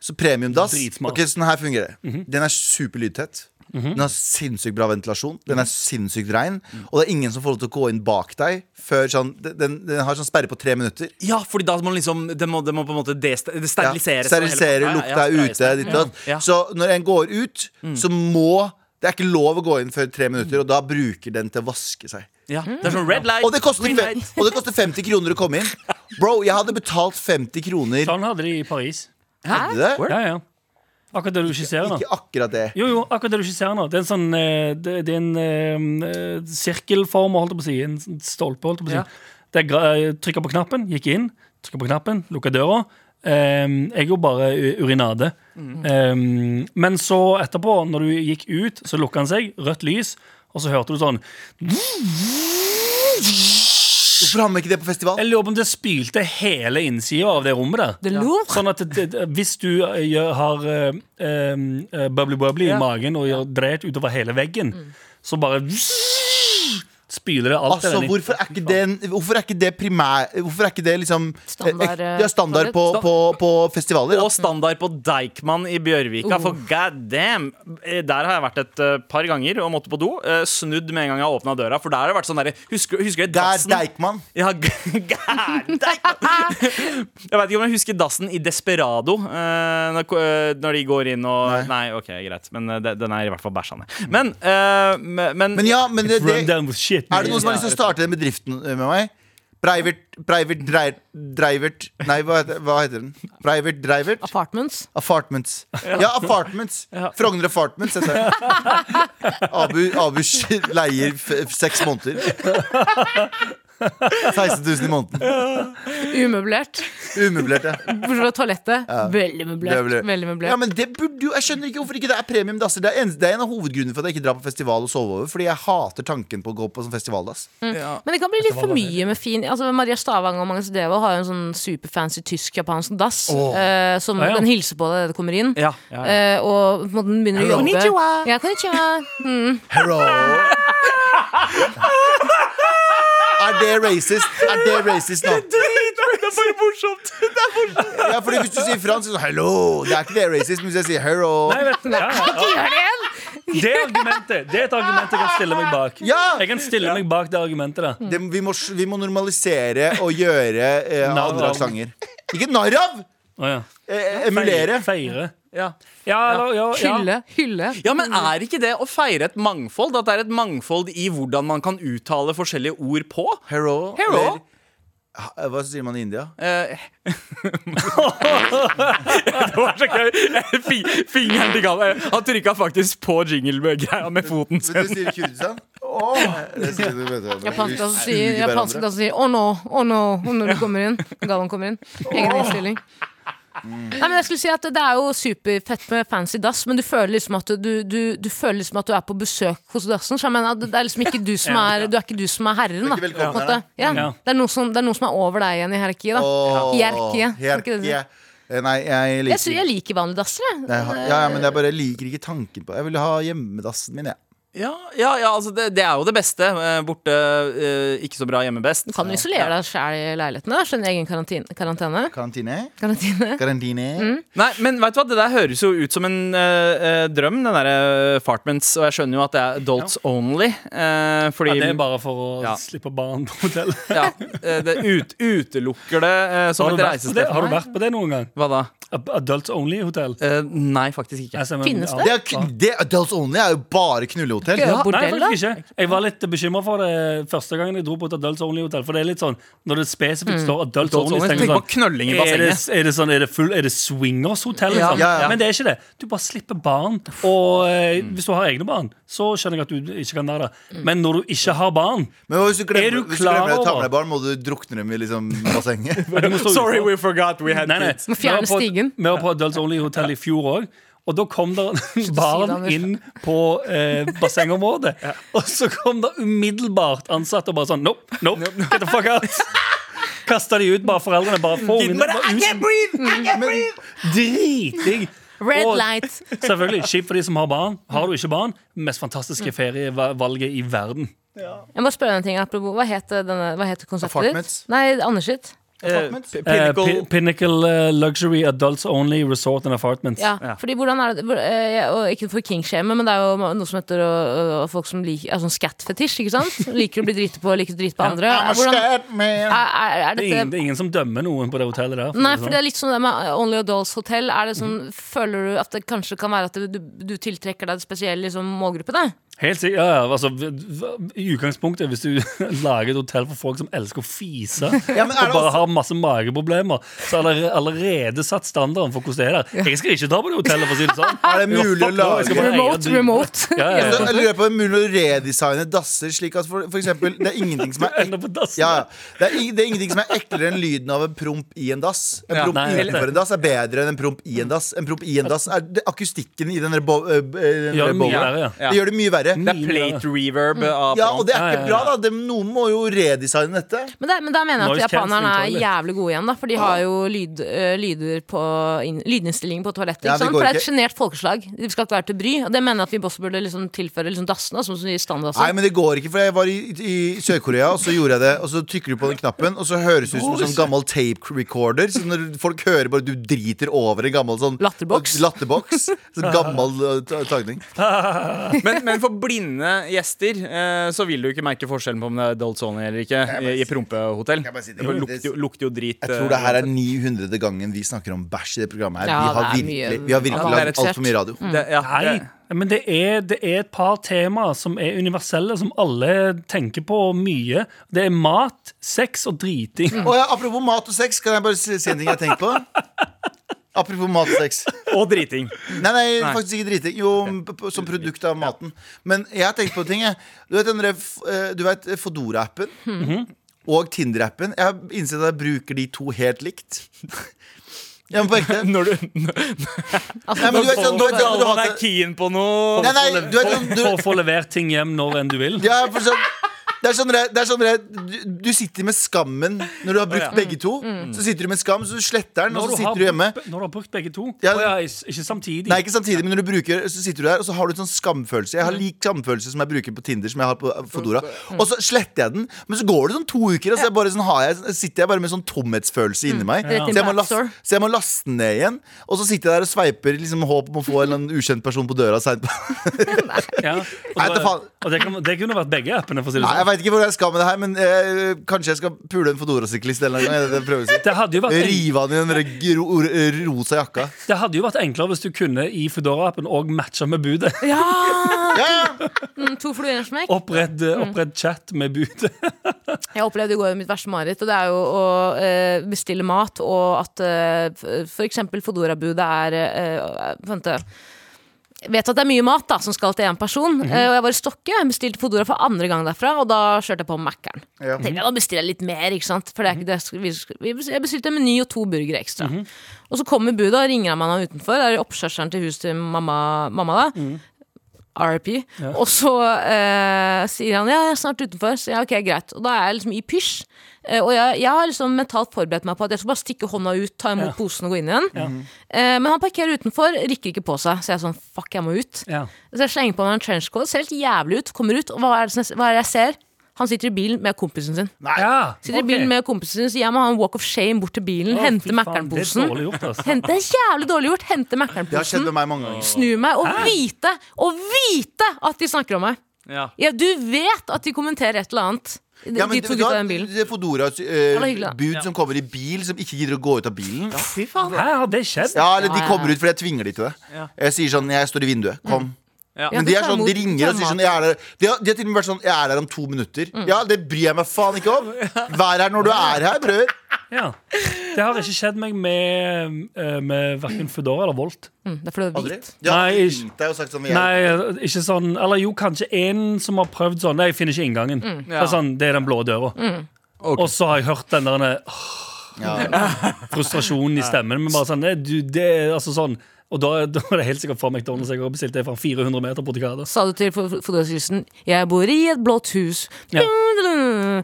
D: Så premiumdass.
C: Dritsmart.
D: Ok, sånn her fungerer det. Den er superlydtett. Den har sinnssykt bra ventilasjon. Den er sinnssykt rein. Og det er ingen som får lov til å gå inn bak deg før sånn den- Den, den har sånn sperre på tre minutter.
B: [LAUGHS] Ja, fordi da må den liksom Det må, det må på en måte desta- det steriliseres.
D: Ja, sterilisere,
B: Ja, ja,
D: lukta er
B: ja,
D: ute. Ditt, og datt.
B: Ja. Mm.
D: Så når en går ut, så må Det er ikke lov å gå inn før tre minutter, og da bruker den til å vaske seg.
B: Ja, det er sånn red light.
D: Og det koster,
B: green
D: fe-
B: light.
D: og det koster 50 kroner å komme inn. Bro, jeg hadde betalt 50 kroner.
C: Sånn hadde de i Paris.
D: Hadde det?
C: Ja, ja. Akkurat det du skisserer nå.
D: Ikke akkurat det.
C: Jo, jo, akkurat det du ikke ser nå. Det er en sånn eh, Det, det er en eh, eh, sirkelform, holdt jeg på å si. En sånn stolpe, holdt jeg på å si.
B: Ja.
C: Det er gra- eh, Trykka på knappen, gikk inn. Trykka på knappen, lukka døra. Eh, jeg gjorde bare u- urinade.
D: Mm.
C: Eh, men så etterpå, når du gikk ut, så lukka han seg. Rødt lys. Og så hørte du sånn
D: Hvorfor har man ikke det på festival?
C: Jeg lurer på om det spylte hele innsida av det rommet der.
E: The Louvre?
C: Sånn at det, det, hvis du eh, gjør, har bubbly-bubbly i magen og gjør dreit utover hele veggen, så bare spyler det alt
D: Mm. Altså,
C: det der
D: hvorfor er ikke det, en- hvorfor er ikke det primær... Hvorfor er ikke det liksom eh,
E: Standard, eh,
D: Ja, standard på,
B: standard.
D: på, på festivaler?
B: Og standard på Deichman i Bjørvika, for god damn! Eh, Der har jeg vært et eh, par ganger og måtte på do. eh, Snudd med en gang jeg åpna døra, for der har det vært sånn derre Husker, husker jeg
D: Der,
B: dassen?
D: Deichman.
B: Ja, [LAUGHS] g- gær Deichman. Jeg vet ikke om jeg husker dassen i Desperado eh, når, ko- eh, når de går inn og Nei, ok, greit. Men eh, de- den er i hvert fall bæsja ned. Men, eh, men, men
D: Men ja, men det,
C: Run
D: det
C: down with shit.
D: Er det noen som har lyst til å starte den bedriften eh, med meg? Breivert, Breivert, Dreir- Dreivert Nei, hva heter, hva heter den? Breivert, Dreivert?
E: Apartments.
D: Apartments. Ja, Apartments. Frogner Apartments heter det. Abu, Abu sk- leier f f- seks måneder. 16 000 i måneden.
E: Umøblert.
D: Umøblert, ja.
E: Bortsett fra toalettet. Veldig møblert.
D: Umøblert.
E: Veldig møblert.
D: ja. Men det burde jo Jeg skjønner ikke hvorfor ikke det er premium dasser. Det er en, det er en av hovedgrunnene for at jeg ikke drar på festival og sover over. Fordi jeg hater tanken på å gå på sånn festivaldass.
E: Men det kan bli litt for mye med fin altså, Maria Stavang og Magnus Devold har jo en sånn superfancy tysk-japansk dass. eh, som
C: Ja, ja.
E: den hilser på deg idet du kommer inn.
B: Ja, ja, ja.
E: Eh, og på en måte den begynner å
D: Hello.
E: jobbe.
D: Konnichiwa.
E: Ja, konnichiwa. Mm.
D: Hello. Er det racist? Er det racist nå?
B: Det er bare morsomt!
D: Ja, fordi Hvis du sier fransk, så hello. Det er ikke det racist, men hvis jeg sier hello
C: Nei, vet du, ja, ja.
E: Gjør det igjen!
C: Det argumentet Det er et argument jeg kan stille meg bak.
D: Ja! Mm.
C: Jeg kan stille meg bak det argumentet. Da.
D: det, vi, må, vi må normalisere og gjøre eh,
C: Narr
D: andre
C: av.
D: slanger. Ikke narr av!
C: Å, ja.
D: Eh, emulere.
C: Feire.
B: Ja.
C: Ja, eller, ja, ja.
E: Hylle. Hylle.
B: ja, men er ikke det å feire et mangfold? At det er et mangfold i hvordan man kan uttale forskjellige ord på?
D: Hello.
B: Hello.
D: Eller Ha- Hva sier man i India?
B: Eh, det var så gøy! Fi- Fingeren til Galvan. Han trykka faktisk på jingle-greia med foten
D: Vet du,
B: sin.
D: sier Kurdistan. Åh! Det sier du, vet du.
E: Japanske danser
D: Vi suger
E: sier, japanske
D: hverandre.
E: danser sier 'oh no, oh no' når du kommer inn. Galvan kommer inn. Egen innstilling. Nei, men jeg skulle si at Det er jo superfett med fancy dass, men du føler liksom at du, du, du, du føler liksom at du er på besøk hos dassen. Så jeg mener at det er liksom ikke du som er Du er ikke du som er herren.
D: Du
E: Da,
D: er ikke velkommen
E: på en måte. ja.
C: Ja.
E: Det, er noe som, det er noe som er over deg igjen i hierarkiet. Da.
D: Åh,
E: Hierarkiet. Er ikke det det-
D: hierarkiet. Eh, Nei, jeg
E: Jeg, sy-
D: liker
E: jeg liker eh, vanlige dasser. jeg.
D: Nei, jeg har- ja, ja, men jeg bare liker ikke tanken på Jeg vil ha hjemmedassen min, jeg.
B: Ja, ja, ja altså det, det er jo det beste. Eh, Borte eh, ikke så bra, hjemme best.
E: Du kan jo isolere deg sjæl i leiligheten. Da. Skjønner egen karantine. karantene.
D: Karantine?
E: karantine.
D: Karantine?
C: Mm.
B: Nei, men vet du hva, Det der høres jo ut som en eh, eh, drøm, den derre Fartments. Og jeg skjønner jo at det er adults only. eh, fordi
C: Ja, det er bare for å
B: Ja.
C: slippe barn på hotell.
B: [LAUGHS] ja, eh, det ut, utelukker det eh, som
C: Har du,
B: et
C: vært på det?
B: reisested.
C: har du vært på det noen gang?
B: Hva da?
C: Ad- Adults only hotell?
B: Eh, nei, faktisk ikke.
C: Jeg ser-
E: Finnes
C: ja.
E: det?
D: Det er, kun- det, adults only er jo bare knullehotell.
E: Gøy.
C: Ja, nei,
E: Bordell,
C: faktisk ikke. Jeg var litt bekymra for det første gangen jeg dro på et Adults Only Hotel. For det er litt sånn, Når det spesifikt
E: Mm.
C: står
B: Adults
C: Adults, Only, så
B: only,
C: tenker
B: tenk
C: jeg
B: på knølling i
C: sånn er det,
B: bassenget.
C: er det sånn, er det, full, er det swingers hotell? Liksom?
D: Ja, ja.
C: Men det er ikke det. Du bare slipper barn. Og eh, hvis du har egne barn, så skjønner jeg at du ikke kan være
E: Mm.
C: der. Men når du ikke har barn
D: Men hvis du
C: Er
D: glemmer,
C: du
D: hvis du
C: klar
D: glemmer å ta
C: over-
D: med deg barn, må du drukne dem i liksom, bassenget.
C: du
B: [LAUGHS]
C: må stå utenfor.
B: forgot we had
C: Nei, nei.
E: Må fjerne
C: Vi var på-
E: stigen.
C: Vi var på Adults Only Hotel i fjor òg. Og da kom det
E: [LAUGHS]
C: barn
E: Anders.
C: inn på eh, bassengområdet. Og så kom det umiddelbart ansatte og bare sånn Nope, nope, get the fuck out. Kasta de ut, bare foreldrene. Bare få ungene bare ut. Driting.
E: Red
C: Og-
E: light.
C: Selvfølgelig. Kjipt for de som har barn. Har du ikke barn, mest fantastiske
E: Mm.
C: ferievalget i verden.
E: Jeg må spørre deg en ting, apropos, Hva het, denne, hva het konseptet ditt?
D: Apartments.
E: Nei, Anders sitt.
C: Eh,
B: Pinnacle
C: Pin- Pinnacle eh, Luxury Adults Only Resort and Apartments.
E: Ja, fordi hvordan er det hvor- eh, og Ikke for kingshame, men det er jo noe som heter å- å- folk som liker altså, Scat-fetisj,
C: [LAUGHS]
E: ikke sant? Liker å bli driti på, liker å drite på andre. Hvordan, er, er, er
C: Det, er ingen,
E: dette
C: det er ingen som dømmer noen på det hotellet der. for å si
E: Nei,
C: det
E: for
C: sånn.
E: det er litt sånn det med Only Adults Hotel. Er det
C: Mhm.
E: sånn, Føler du at det kanskje kan være at du, du tiltrekker deg en spesiell liksom, målgruppe? Da?
C: Helt sikkert, ja, ja, altså, v- v- I utgangspunktet, hvis du [LAUGHS] lager et hotell for folk som elsker å fise,
D: men er det altså-
C: og bare
D: også-
C: har masse mageproblemer, så har dere allerede satt standarden for hvordan det er der. Jeg skal ikke ta på det hotellet, for å si det
D: [LAUGHS]
C: sånn.
D: Er det mulig å
C: Fuck no, jeg skal
D: lage-
C: bare eie og
E: Remote,
C: drive.
E: remote.
C: Ja, ja,
D: Så
C: ja.
D: jeg lurer på om det er mulig å redesigne dasser slik at for, for eksempel, det er ingenting som er ek-
C: Ender på dassen.
D: ja, ja. det, er, ing- det er ingenting som er eklere enn lyden av en promp i en dass. En
B: Ja,
D: promp
C: nei, helt
D: utenfor en dass er bedre enn en promp i en dass. En promp i en dass er det, Akustikken i den der bo- øh, b- øh, den
C: Gjør
D: der
C: det mye
D: bowlen,
C: verre,
B: ja.
D: det gjør det mye verre.
B: Det er [LAUGHS] plate reverb eh, av
D: Ja, og det
C: Ja,
D: er
C: ja, ja.
D: ikke bra, da. Det, noen må jo redesigne dette.
E: Men, det, men da mener jeg
C: Noise
E: at japanerne er
C: cancelling toilet.
E: jævlig gode igjen, da. For de har jo lyd, øh, lyder på inn- lydinnstillingen på toalettet.
D: Ja,
E: ikke
D: det
E: sant?
D: går
E: For det er et
D: ikke.
E: sjenert folkeslag. De skal ikke være til bry. Og det mener jeg at vi også burde liksom tilføre liksom dassene, som de
D: Nei,
E: standardasser.
D: men det går ikke, for jeg var i, i Sør-Korea, og så gjorde jeg det. Og så trykker du på den knappen, og så høres det ut som en sånn gammel tape recorder. Så når folk hører bare du driter over en gammel sånn [LAUGHS]
E: Latterboks.
D: latterboks sånn gammel eh, ta- tagning.
B: Men, men for blinde gjester eh, så vil du ikke merke forskjellen på om det er adults only eller ikke i, i prompehotell.
D: bare si det.
B: Det lukter jo, lukter jo drit. eh,
D: Jeg tror det her er 900. gangen vi snakker om bæsj i det programmet her.
E: Ja,
D: vi har
E: det er
D: virkelig,
E: mye-
D: vi har virkelig
B: Ja, det er
D: lagd altfor mye radio.
B: det, ja, det,
C: Nei, men det er, det er et par temaer som er universelle, som alle tenker på mye. Det er mat, sex og
D: [LAUGHS]
C: driting.
D: Og ja, apropos mat og sex, kan jeg bare si si en ting jeg har tenkt på? Apropos mat og sex.
B: og driting.
D: Nei, nei, faktisk ikke driting. Jo, p- p- som produkt av maten. Men jeg har tenkt på en ting. Jeg. Du vet, den der f- eh, du vet Fodora-appen
C: Mhm.
D: og Tinder-appen. Jeg har innsett at jeg bruker de to helt likt. [LAUGHS] Ja, men på ekte. Nei,
B: Når du,
D: men du vet sånn, du vet sånn, du
B: når man
D: har
B: er keen på noe
D: Nei, nei, du vet sånn
C: For
D: du,
C: å få levert ting hjem når enn du vil.
D: ja, for sånn, det er sånn, det er- det er sånn det er- du, du sitter med skammen når du har brukt begge to. Så sitter du med skam, så du sletter den,
C: Når
D: og så
C: du, har,
D: sitter du hjemme.
C: brukt- når du har brukt begge to.
D: Ja.
C: Å ja, is- ikke samtidig.
D: Nei, ikke samtidig, men når du bruker, så sitter du der, og så har du en sånn skamfølelse. Jeg har lik skamfølelse som jeg bruker på Tinder, som jeg har på Fodora. Og så sletter jeg den, men så går det sånn to uker, og så, er jeg bare, sånn, har jeg, sitter jeg bare med sånn tomhetsfølelse inni meg.
E: Rett inn
D: Så jeg,
E: på
D: må
E: App
D: laste,
E: Store.
D: så jeg må laste den ned igjen, og så sitter jeg der og sveiper liksom, håp om å få en eller annen ukjent person på døra seint.
C: Ja. Og,
D: Nei, det
C: da-
D: faen-
C: og det, kan, det kunne vært begge appene. For å si det,
D: Nei, jeg
C: sånn.
D: veit ikke hvor jeg skal med det her, men eh, kanskje jeg skal pule en Fodora-syklist en eller annen gang. Det er det jeg prøver å si.
C: det, hadde jo vært en,
D: Rive han i den der gro- r- rosa jakka. [LAUGHS]
C: det hadde jo vært enklere hvis du kunne i Foodora-appen òg matche med budet.
E: Ja!
D: Ja,
E: Mm, to fluer i en smekk.
C: Opprett, eh, opprett chat med budet.
E: Jeg opplevde i går mitt verste mareritt, og det er jo å eh, bestille mat, og at eh, f- for eksempel Fodora-budet er eh, Vent, eh, jeg vet at det er mye mat da, som skal til én person, eh, og jeg var i Stokke. Jeg bestilte Fodora for andre gang derfra, og da kjørte jeg på Mækkern.
D: Ja.
E: Jeg tenkte, Da bestiller jeg litt mer, ikke sant? For det er ikke det jeg skulle- vi skulle- vi bestilte- Jeg bestilte en meny og to burgere ekstra. Og så kommer budet, og ringer han meg når han er utenfor. Det er oppkjørselen til huset til mamma, mamma da. RIP. Og så eh, sier han ja, jeg er snart utenfor. Så ja, ok, greit. Og da er jeg liksom i pysj. Eh, og jeg, jeg har liksom mentalt forberedt meg på at jeg skal bare stikke hånda ut, ta imot posen og gå inn igjen. Eh, men han parkerer utenfor, rykker ikke på seg. Så jeg er sånn fuck, jeg må ut.
C: Ja.
E: Så jeg slenger på meg en trenchcoat, ser helt jævlig ut, kommer ut, og hva er det, som jeg- hva er det jeg ser? Han sitter i bilen med kompisen sin.
C: Ja,
E: Sitter
C: ok.
E: i bilen med kompisen sin, så jeg må ha en walk of shame bort til bilen,
C: Å,
E: hente
C: fy faen, Det er
E: Mækkern-posen.
C: dårlig gjort, altså.
E: Hente- Det er jævlig dårlig gjort. Hente
D: det har skjedd
E: Mækkern-posen
D: med meg mange ganger.
E: snu meg og vite og vite at de snakker om meg.
B: Ja.
E: Ja, du vet at de kommenterer et eller annet. De,
D: Ja, men
E: de
D: det,
E: to gutta i den bilen.
D: det er Fodoras
E: var hyggelig, da.
D: eh, bud som kommer i bil, som ikke gidder å gå ut av bilen.
B: Fy faen.
C: Hæ, har det skjedd?
D: Ja, eller
E: Ja,
D: de
E: ja,
D: kommer
E: ja.
D: ut fordi jeg tvinger de til det.
B: Ja.
D: Jeg sier sånn 'Jeg står i vinduet. Kom'.
B: Ja.
D: Men
E: Ja,
D: de
E: du
D: er
E: tar
D: sånn, de
E: imot- Mm. du
D: ringer
E: tar
D: og sier sånn
E: mat.
D: jeg er der. de, har, de har til og med vært sånn 'Jeg er her om to minutter'. Ja, det bryr jeg meg faen ikke
E: [LAUGHS]
D: om. Vær her når du er her, brødre.
C: Ja. Det har ikke skjedd meg med, eh, med verken Foodora eller Volt.
E: Mm, det er fordi du er
D: Aldri.
E: hvit.
D: De har
C: Nei, ikke-
D: ringt deg og sagt sånn jeg,
C: Nei, ikke sånn Eller jo, kanskje en som har prøvd sånn Nei, jeg finner ikke inngangen Det
B: Ja.
C: er sånn, det er den blå døra Og så har jeg hørt den der åh,
D: ja.
C: [LAUGHS] frustrasjonen i stemmen Men bare sånn, nei, du, det er altså sånn Og da, da er det helt sikkert fra McDonalds Jeg har bestilt det fra 400 meter portikade
E: Sa du til fotografisten Jeg bor i et blått hus.
C: Ja.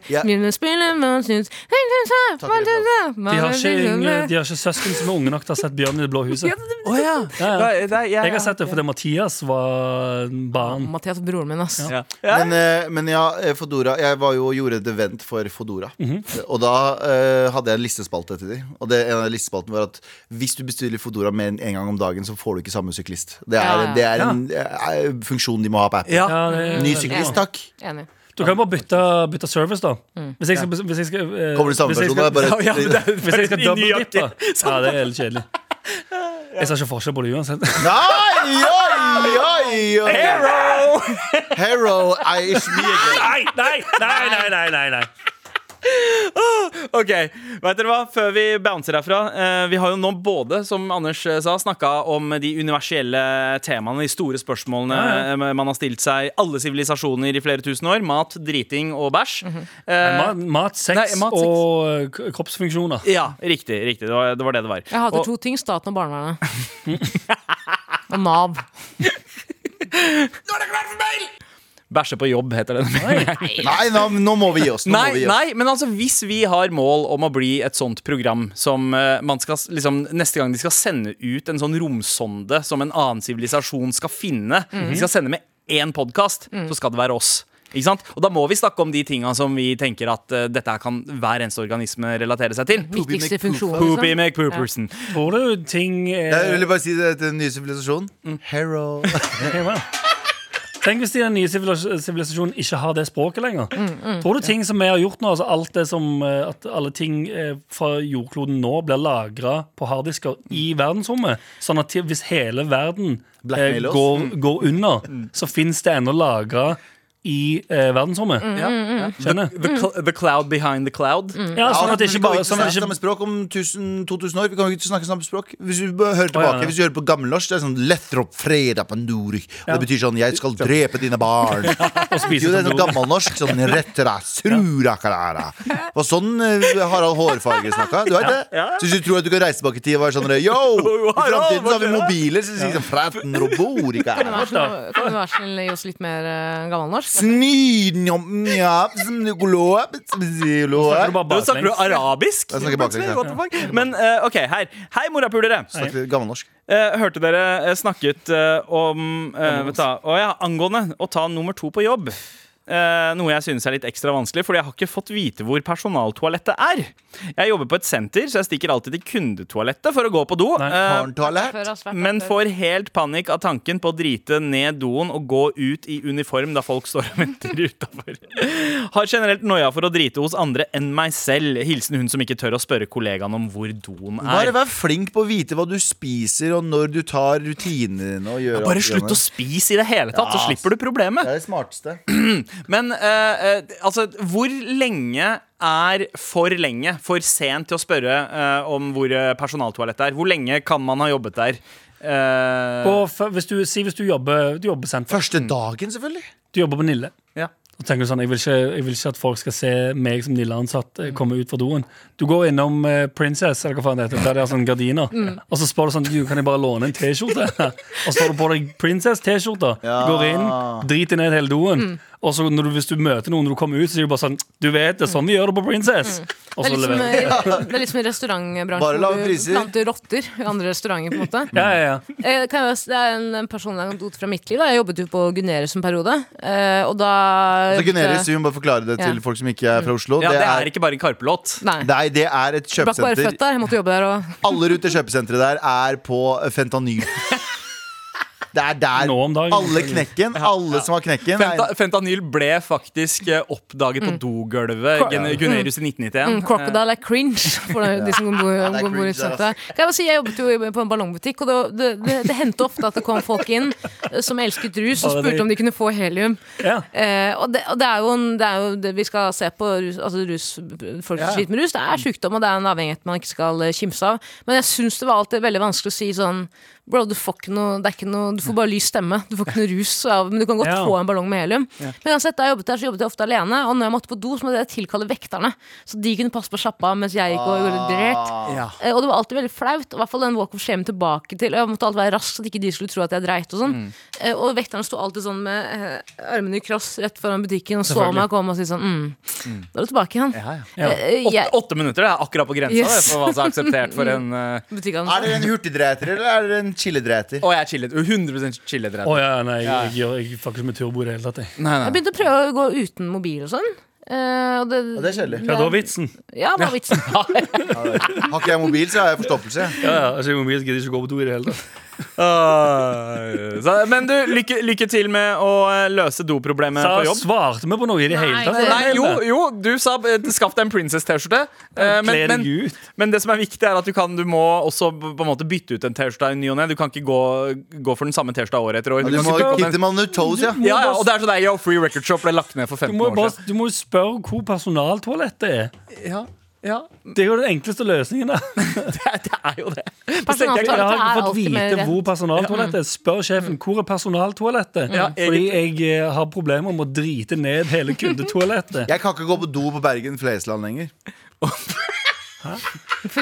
D: Ja.
E: Mine spiller med snus.
C: de har, ikke, yngre- de har ikke søsken som er unge nok til å ha sett Bjørn i det blå huset
B: Å ja.
C: ja.
B: Da- da- ja,
C: Jeg
B: ja.
C: har sett det fordi Mathias var barn
E: Mathias, broren min, ass.
B: Ja. Ja.
D: Men, eh, men ja, eh, Fodora Jeg var jo og gjorde et event for Fodora.
B: Mhm.
D: Og da eh, hadde jeg en listespalte til dem. Og det, en av listespaltene var at hvis du bestiller Fodora mer enn én gang om dagen, så får du ikke samme syklist. Det er,
E: Ja, ja.
D: Det er en eh, funksjon de må ha på appen.
B: Ja.
C: ja, det-
D: Ny syklist, takk.
E: Enig.
C: Du kan bare bytte, bytte service da Hvis jeg skal, hvis jeg skal eh,
D: Kommer det samme
C: hvis jeg
D: person?
C: skal-
D: da? Bare,
B: Ja, men det er-
C: [LAUGHS] Hvis
B: [LAUGHS]
C: jeg skal
B: det er nøyaktig.
C: dobbeltdippe Ja, det er helt
B: [LAUGHS]
C: kjedelig Jeg ser ikke forskjell på det uansett [LAUGHS]
D: Nei, oi, oi, oi. Hero er ikke mye gøy.
C: Nei, nei, nei, nei, nei, nei, nei.
B: Ok, vet dere hva? Før vi bouncer herfra eh, Vi har jo nå både, som Anders eh, sa Snakka om de universelle temaene De store spørsmålene
C: Ja,
B: eh, man har stilt seg Alle sivilisasjoner i flere tusen år Mat, driting og bæsj
C: Mhm.
B: Eh,
C: Mat, mat sex
B: Nei, mat, sex.
C: og eh, k- kroppsfunksjoner.
B: Ja, riktig, riktig det var, det var det det var
E: Jeg hater
B: Og-
E: to ting. Staten og barnevernet. og Nav.
B: Bæsje på jobb heter det
D: Nei, nå, nå må vi gi oss. Nå må
B: Nei,
D: vi gi oss.
B: nei, men altså hvis vi har mål om å bli et sånt program som eh, man skal s- liksom Neste gang de skal sende ut en sånn romsonde som en annen sivilisasjon skal finne De skal sende med én podkast, så skal det være oss. Ikke sant? Og da må vi snakke om de tinga som vi tenker at eh, dette her kan hver eneste organisme relatere seg til.
E: Viktigste funksjonen.
B: Poopy
E: Liksom.
B: McPooperson.
C: Tror du ting
D: Jeg
C: er
D: ville bare si det til den nye
B: Mm.
D: sivilisasjonen. Hero.
C: Hva? Tenk hvis de den nye sivilis- sivilisasjonen ikke har det språket lenger.
B: Mm,
C: Tror du ting som vi har gjort nå, altså alt det som eh, At alle ting eh, fra jordkloden nå blir lagra på harddisker i
B: Mm.
C: verdensrommet? Sånn at til- hvis hele verden eh,
D: Blackmail oss.
C: går, går under,
B: Mm.
C: så fins det ennå lagra i eh, verdensrommet.
B: Ja, ja.
C: Skjønner?
B: The, cl the cloud behind the cloud.
C: Ja, sånn at det
D: Altså, vi
C: ikke
D: kan
C: bare
D: ikke
C: sånn at
D: snakke
C: det ikke
D: samme språk om 1000, 2000 år. Vi kan jo ikke snakke samme språk. Hvis vi bare hører
C: ja,
D: tilbake,
C: ja.
D: hvis vi hører på gammelnorsk, det er sånn Lethrop freda panduri. Og
C: Ja.
D: det betyr sånn 'jeg skal drepe dine
C: [LAUGHS]
D: barn'.
C: Og
D: Jo,
C: spise
D: det er sånn
C: tandoori.
D: gammelnorsk. Sånn rettera, srura, kalara. Og sånn eh, Harald Hårfarge snakka. Du vet det? Så hvis du tror at du kan reise tilbake i tid og være
C: [LAUGHS]
D: sånn Yo! I framtiden så har vi mobiler som sier sånn «Fræten roborika».
E: Kan du være snill- kan du være snill gi oss litt mer eh, gammelnorsk?
D: Snynjom, ja, psykolog,
C: Snakker du
D: psykolog.
C: bare
B: Da snakker du
C: baklengs?
B: arabisk?
D: Jeg snakker baklengs, ja.
B: What the fuck? Men eh, OK, her. Hei, morapulere.
D: Snakker gammelnorsk.
B: Eh, hørte dere eh, snakket eh, om eh, vet du, hva, å ja, angående å ta nummer to på jobb. eh, noe jeg synes er litt ekstra vanskelig, fordi jeg har ikke fått vite hvor personaltoalettet er. Jeg jobber på et senter, så jeg stikker alltid til kundetoalettet for å gå på do.
C: Nei,
B: eh,
D: Barnetoalett.
E: Før, ass, vært der
B: men
E: før.
B: får helt panikk av tanken på å drite ned doen og gå ut i uniform da folk står og venter [LAUGHS] utafor. Har generelt noia for å drite hos andre enn meg selv. Hilsen hun som ikke tør å spørre kollegaen om hvor doen
D: Bare
B: er.
D: vær flink på å vite hva du spiser, og når du tar rutinene dine. og gjør alt
B: Bare
D: det
B: slutt å
D: grann.
B: spise i det hele tatt, så
D: Ja,
B: slipper du problemet.
D: Det er det smarteste.
B: Men eh, eh, altså, hvor lenge er for lenge? For sent til å spørre eh, om hvor eh, personaltoalettet er. Hvor lenge kan man ha jobbet der? Eh,
C: Og f- hvis du, si hvis du jobber, du jobber på senter,
D: Første dagen, selvfølgelig.
C: du jobber på Nille.
B: ja.
C: Og tenker du sånn, jeg vil, ikke, jeg vil ikke at folk skal se meg som Nille-ansatt eh, komme ut fra doen. Du går innom eh, Princess, eller hva faen det heter, der de har sånne gardiner.
E: Mm.
C: Og så spør du sånn, du kan jeg bare låne en
E: [LAUGHS]
C: T-skjorte? og så får du på deg Princess-T-skjorta.
D: Ja.
C: Går inn, driter ned hele doen.
E: Mm.
C: Og så når du, hvis du møter noen når du kommer ut, så sier du bare sånn, du vet, det er sånn vi gjør det på Princess. Og så
E: Det er, liksom,
C: leverer du.
E: det er liksom i restaurantbransjen.
D: Bare lave
E: hvor du
D: priser.
E: Planter rotter i andre restauranter. på en måte
C: Ja, ja, ja.
E: Eh, kan jeg, Det er en personlig anekdote fra mitt liv. Da. Jeg jobbet jo på Gunerius en periode. eh, Og da
D: Så Altså, Gunerius, vi må bare forklare det
E: Ja.
D: til folk som ikke er fra Oslo.
B: ja, det er ikke bare en karpelåt.
E: Nei.
D: Nei, det er et
E: Brakk bare
D: kjøpesenter. [LAUGHS]
E: føtt der. Jeg måtte jobbe der og
D: Alle ruter kjøpesenteret der er på eh, fentanyl. [LAUGHS] Det er der
C: Nå om dagen.
D: alle knekken, alle som har knekken
B: Fenta,
D: er-
B: fentanyl ble faktisk eh, oppdaget på dogulvet Gen- Gunerius i 1991.
E: Mm, crocodile er cringe. [LAUGHS] For de som bor,
D: det er
E: bor-
D: cringe
E: bor i
D: altså. der,
E: utsatte. Kan jeg, bare si, jeg jobbet jo i- på en ballongbutikk, og det, det, det, det hendte ofte at det kom folk inn eh, som elsket rus,
C: Å,
E: og
C: det-
E: spurte om de kunne få helium.
C: ja.
E: Eh, og det, og det, er jo en, det er jo det vi skal se på rus, altså rus, folk som sliter med rus. Det er sykdom, og det er en avhengighet man ikke skal eh, kimse av. Men jeg syns det var alltid veldig vanskelig å si sånn Bro, du får ikke noe, det er ikke noe Du får bare lys stemme. Du får ikke noe rus av Men du kan godt
C: Ja.
E: få en ballong med helium. Men uansett, da jeg jobbet der, så jobbet jeg ofte alene. Og når jeg måtte på do, så måtte jeg tilkalle vekterne. Så de kunne passe på sjappa mens jeg gikk og gjorde drert.
B: Ja.
E: Eh, Og det var alltid veldig flaut. Og i hvert fall den walk of shame tilbake til. og Jeg måtte alltid være rask, så at ikke de skulle tro at jeg dreit. Og sånn Eh, Og vekterne sto alltid sånn med eh, armene i kross rett foran butikken og så
C: Selvfølgelig.
E: meg komme og si sånn mm, Da er du tilbake igjen.
B: Ja, ja.
C: Ja.
E: Eh,
B: Åtte,
E: jeg-
B: åtte minutter det er akkurat på grensa det,
E: Yes.
B: for hva som er
E: [LAUGHS]
B: akseptert for en eh,
E: butikkene.
D: Er dere en hurtigdreter eller er dere en chilledreter?
B: Og jeg er chillet. 100 chillet.
C: Å ja, nei, jeg, jeg, gjør- jeg fucker ikke med turbo i det hele tatt. jeg.
B: Nei,
E: Jeg
B: nei.
E: begynte å prøve å gå uten mobil og sånn. Eh, og det,
D: Ja, det er kjedelig.
C: Ja, det var vitsen.
E: Ja, det var vitsen.
D: Har ikke jeg mobil, så har jeg forstoppelse.
C: Ja, ja, altså, jeg gidder ikke gå på do i det hele tatt.
B: Åh, så, men du, lykke, lykke til med å eh, løse doproblemet på
C: Så
B: jobb.
C: svarte vi på noe i det hele tatt?
B: Nei, jo, jo, du sa eh, skaff deg en Princess-T-skjorte. eh, Men,
C: Kle
B: men,
C: deg ut.
B: men det som er viktig, er at du, kan, du må også på en måte bytte ut en T-skjorte i ny og ne. Du kan ikke gå, gå for den samme T-skjorta år etter år.
D: Ja,
B: Du
D: Du
B: kan
D: må
B: ikke gå med-
D: kitte man under toes, ja.
B: ja, ja, og det er sånn der, Yo, Free Record Shop ble lagt ned for
C: Du
B: 15
C: må, jo
B: år
C: bare,
B: siden.
C: du må jo spørre hvor personaltoalettet er.
B: Ja, ja,
C: Det er jo den enkleste løsningen. da Jeg
B: [LAUGHS] det, er- det er jo det.
E: Personaltoalettet
B: Personaltoalettet
C: har
E: er
C: ikke fått
E: alltid mer
C: vite
E: rett.
C: hvor personaltoalettet er. Spør sjefen hvor er personaltoalettet
B: Ja,
C: Fordi jeg eh, har problemer med å drite ned hele kundetoalettet.
D: [LAUGHS] Jeg kan ikke gå på do på Bergen Flesland lenger.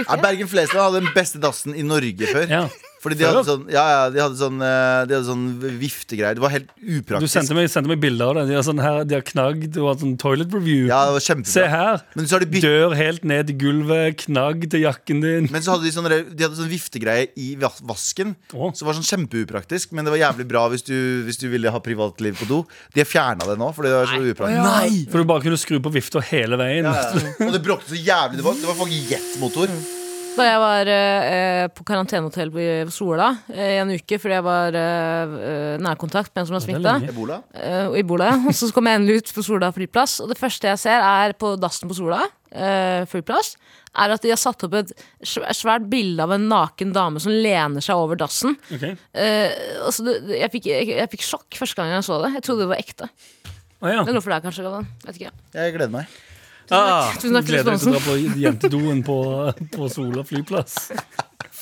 D: Ja, Bergen Flesland hadde den beste dassen i Norge før.
C: Ja.
D: Fordi de hadde sånn, ja, ja, de hadde sånn, eh, de hadde sånn viftegreier. Det var helt
C: Du
D: upraktisk.
C: sendte meg, sendte meg bilder av det. De har, sånn her, de har knagd og hatt sånn toilet review.
D: Ja, det var
C: Se
D: kjempebra.
C: her.
D: Men så har de bytt
C: Dør helt ned i gulvet, knagg til jakken din.
D: Men så hadde de, sånne, de hadde sånn viftegreie i va- vasken.
C: Å.
D: Som var sånn kjempeupraktisk, men det var jævlig bra hvis du, hvis du ville ha privatliv på do. De har fjerna det nå, fordi det var så upraktisk.
C: Nei! For du bare kunne skru på vifta hele veien.
D: Og det bråkte så jævlig. Det var, det var faktisk jetmotor.
E: Da jeg var eh, eh, på karantenehotell på på Sola eh, i en uke fordi jeg var eh, eh, nærkontakt med en som var
C: det er
E: smitta,
C: lenge.
D: Ebola.
E: eh, og i Bola, og så kom jeg endelig ut på Sola flyplass, og det første jeg ser er på dassen på Sola eh, flyplass, er at de har satt opp et sv- svært bilde av en naken dame som lener seg over dassen.
C: Ok.
E: Eh, og så det, det- jeg, fikk, jeg, jeg fikk sjokk første gang jeg så det. Jeg trodde det var ekte.
C: Å, ja.
E: Det er noe for deg, kanskje, Galvan. Vet ikke.
D: Jeg gleder meg.
B: Ah.
E: Tusen takk
C: Gleder
E: for
C: deg til å
E: responsen.
C: dra på jentedoen på, på Sola flyplass.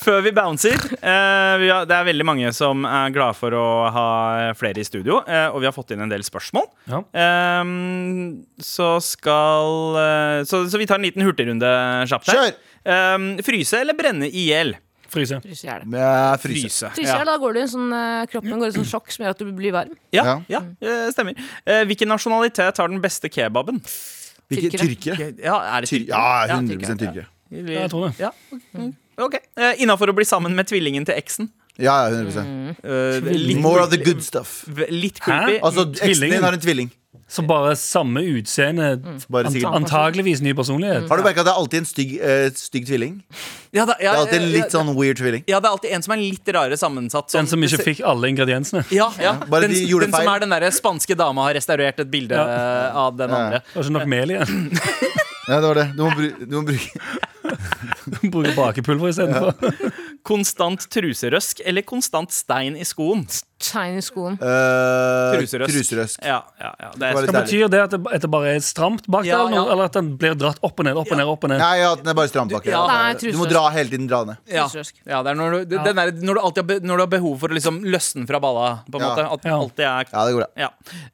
B: Før vi bouncer eh, vi har, Det er veldig mange som er glade for å ha flere i studio, eh, og vi har fått inn en del spørsmål.
C: Ja.
B: Ehm, så skal eh, så, så vi tar en liten hurtigrunde kjapt der.
D: Kjør!
B: Ehm, fryse eller brenne i hjel?
C: Fryse.
E: Fryser jeg det.
D: Men jeg fryser.
B: Fryse.
E: Fryser jeg,
B: Ja,
E: da går det i en sånn, eh, kroppen går i en sånn sjokk som gjør at du blir varm.
B: ja,
D: Ja.
B: ja eh, stemmer. Eh, hvilken nasjonalitet har den beste kebaben?
D: Hvilke
E: Tyrkere.
D: tyrkere?
B: Ja, er det
D: Tyr ja, 100 tyrkere.
C: Ja, jeg tror det.
B: Mm. Ja. Ok. Eh, Innafor å bli sammen med tvillingen til eksen.
D: Ja, ja, 100
B: Eh, litt,
D: More of the good stuff.
B: litt creepy.
D: Altså, eksen
C: Tvillingen.
D: din har en tvilling.
C: Så bare samme utseende,
D: Bare
C: ant
D: sikkert.
C: antageligvis ny personlighet.
D: Har du merka at det er alltid en stygg, eh, stygg tvilling?
B: Ja, da-
D: Det
B: ja,
D: er alltid en
B: ja,
D: litt sånn weird tvilling.
B: Ja, det er alltid en som er litt rarere sammensatt.
C: Den som ikke fikk alle ingrediensene.
B: Ja, ja.
D: Bare
B: den,
D: de gjorde
B: den som
D: feil.
B: er den der spanske dama har restaurert et bilde eh, av den andre.
C: Det var ikke nok mel
D: [LAUGHS]
C: igjen.
D: Ja, det var det. Du må, bru- du må bruke
C: Bruker bakepulver istedenfor.
B: Konstant truserøsk eller konstant stein i skoen?
E: Shine i skoen.
D: [LAUGHS] eh,
B: Truserøsk.
D: truserøsk.
B: Ja, ja, ja. Det
D: Hva
B: er,
D: er det
C: Hva betyr det at det, at det bare er stramt bak der,
B: Ja,
C: eller noe?
B: ja.
C: eller at den blir dratt opp og ned, opp og ned, opp og ned?
D: Nei, ja, den er bare stramt bak.
B: Ja.
E: Nei,
D: Du må
E: truseløs.
D: dra hele tiden. dra ned
B: ja.
E: truserøsk.
B: ja, det er når du, den der, når du alltid har, be, når du har behov for å liksom løsne fra balla, på en
D: Ja.
B: måte. At det
C: Ja.
B: alltid er
D: Ja, det går bra.
B: ja.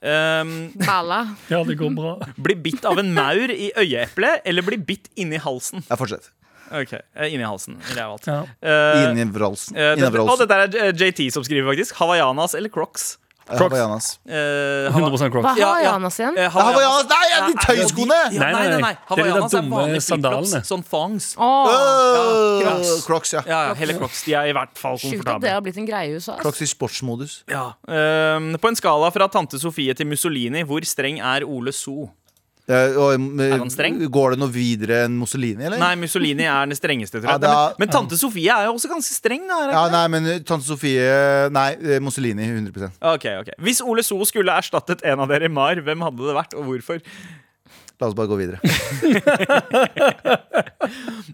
B: Ehm,
E: Balla.
C: Ja, det går bra.
B: bli bitt av en maur i øyeeplet, eller bli bitt inni halsen?
D: Ja, fortsett.
B: Ok, eh, inni halsen. Det er alt.
C: Ja.
B: Eh,
D: Inni vralsen.
B: eh,
D: Inni
B: dette- og
D: vralsen.
B: dette er eh, JT som skriver, faktisk. Hawaiianas eller Crocs?
D: Eh, Hawaiianas.
B: Eh, Hawa-
C: 100
E: Hva
C: crocs.
B: Ja,
E: har
B: ja.
E: Johannes igjen?
B: Eh,
D: Ja,
B: Hawaiianas-
D: Hawaiianas! Nei, ja, de tøyskoene!
B: Ja, nei, nei, nei.
C: Det er de der
B: Hawaiianas er
C: dumme
B: vanlige
C: sandalene.
B: flipflops. Sånn thongs.
E: Åh,
D: Øh,
B: Ja, Crocs.
D: Crocs, ja.
B: Ja, ja, hele Crocs. De er i hvert fall
E: Sjukt at det
B: komfortable.
E: har blitt en greie i USA. altså. ass.
D: Crocs i sportsmodus.
B: Ja. Ehm, på en skala fra tante Sofie til Mussolini, hvor streng er Ole So?
D: Eh, og, eh,
B: Er han streng?
D: Går det noe videre enn Mussolini, eller?
B: Nei, Mussolini er den strengeste, tror jeg.
D: Ja, det er-
B: men, men tante Sofie er jo også ganske streng, da. er
D: Ja,
B: hun ikke det?
D: nei, men eh, tante Sofie Nei, eh, Mussolini 100
B: Ok, ok Hvis Ole So skulle erstattet en av dere i MAR, hvem hadde det vært, og hvorfor?
D: La oss bare gå videre.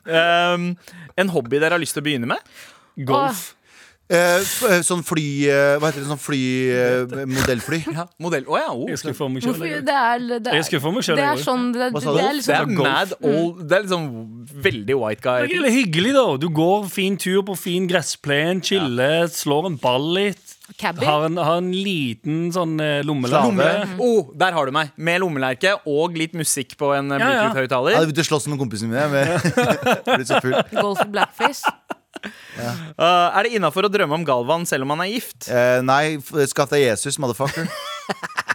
B: Ehm, en hobby dere har lyst til å begynne med?
C: Golf.
D: Eh, f- eh, sånn fly eh, Hva heter det? Sånn fly eh, Modellfly.
B: Ja, modell Å ja, oh.
C: Jeg skulle få meg
E: Hvorfor,
C: selv,
E: det er, det
C: Jeg
E: er,
C: skulle få meg selv,
E: det
C: jeg
E: er
C: også.
E: sånn Det,
D: Hva
E: det,
D: sa du?
E: er
B: Det er
E: liksom
B: mad old Det er liksom veldig white
C: Mm. Det er
B: guy.
C: litt hyggelig, da. Du går fin tur på fin gressplen, chiller, slår en ball litt.
E: Cabby.
C: Har en, har en liten sånn eh, lommelave.
D: Lomme.
B: Oh, der har du meg! Med lommelerke og litt musikk på en eh,
C: Ja, ja.
D: Jeg
B: Bluetooth-høyttaler.
D: hadde begynt å slåss med kompisene mine. Men [LAUGHS] jeg ble så full.
E: Golf og blackface.
B: Uh, er det innafor å drømme om Galvan selv om han er gift?
D: Eh, nei, f- skaff deg Jesus, motherfucker.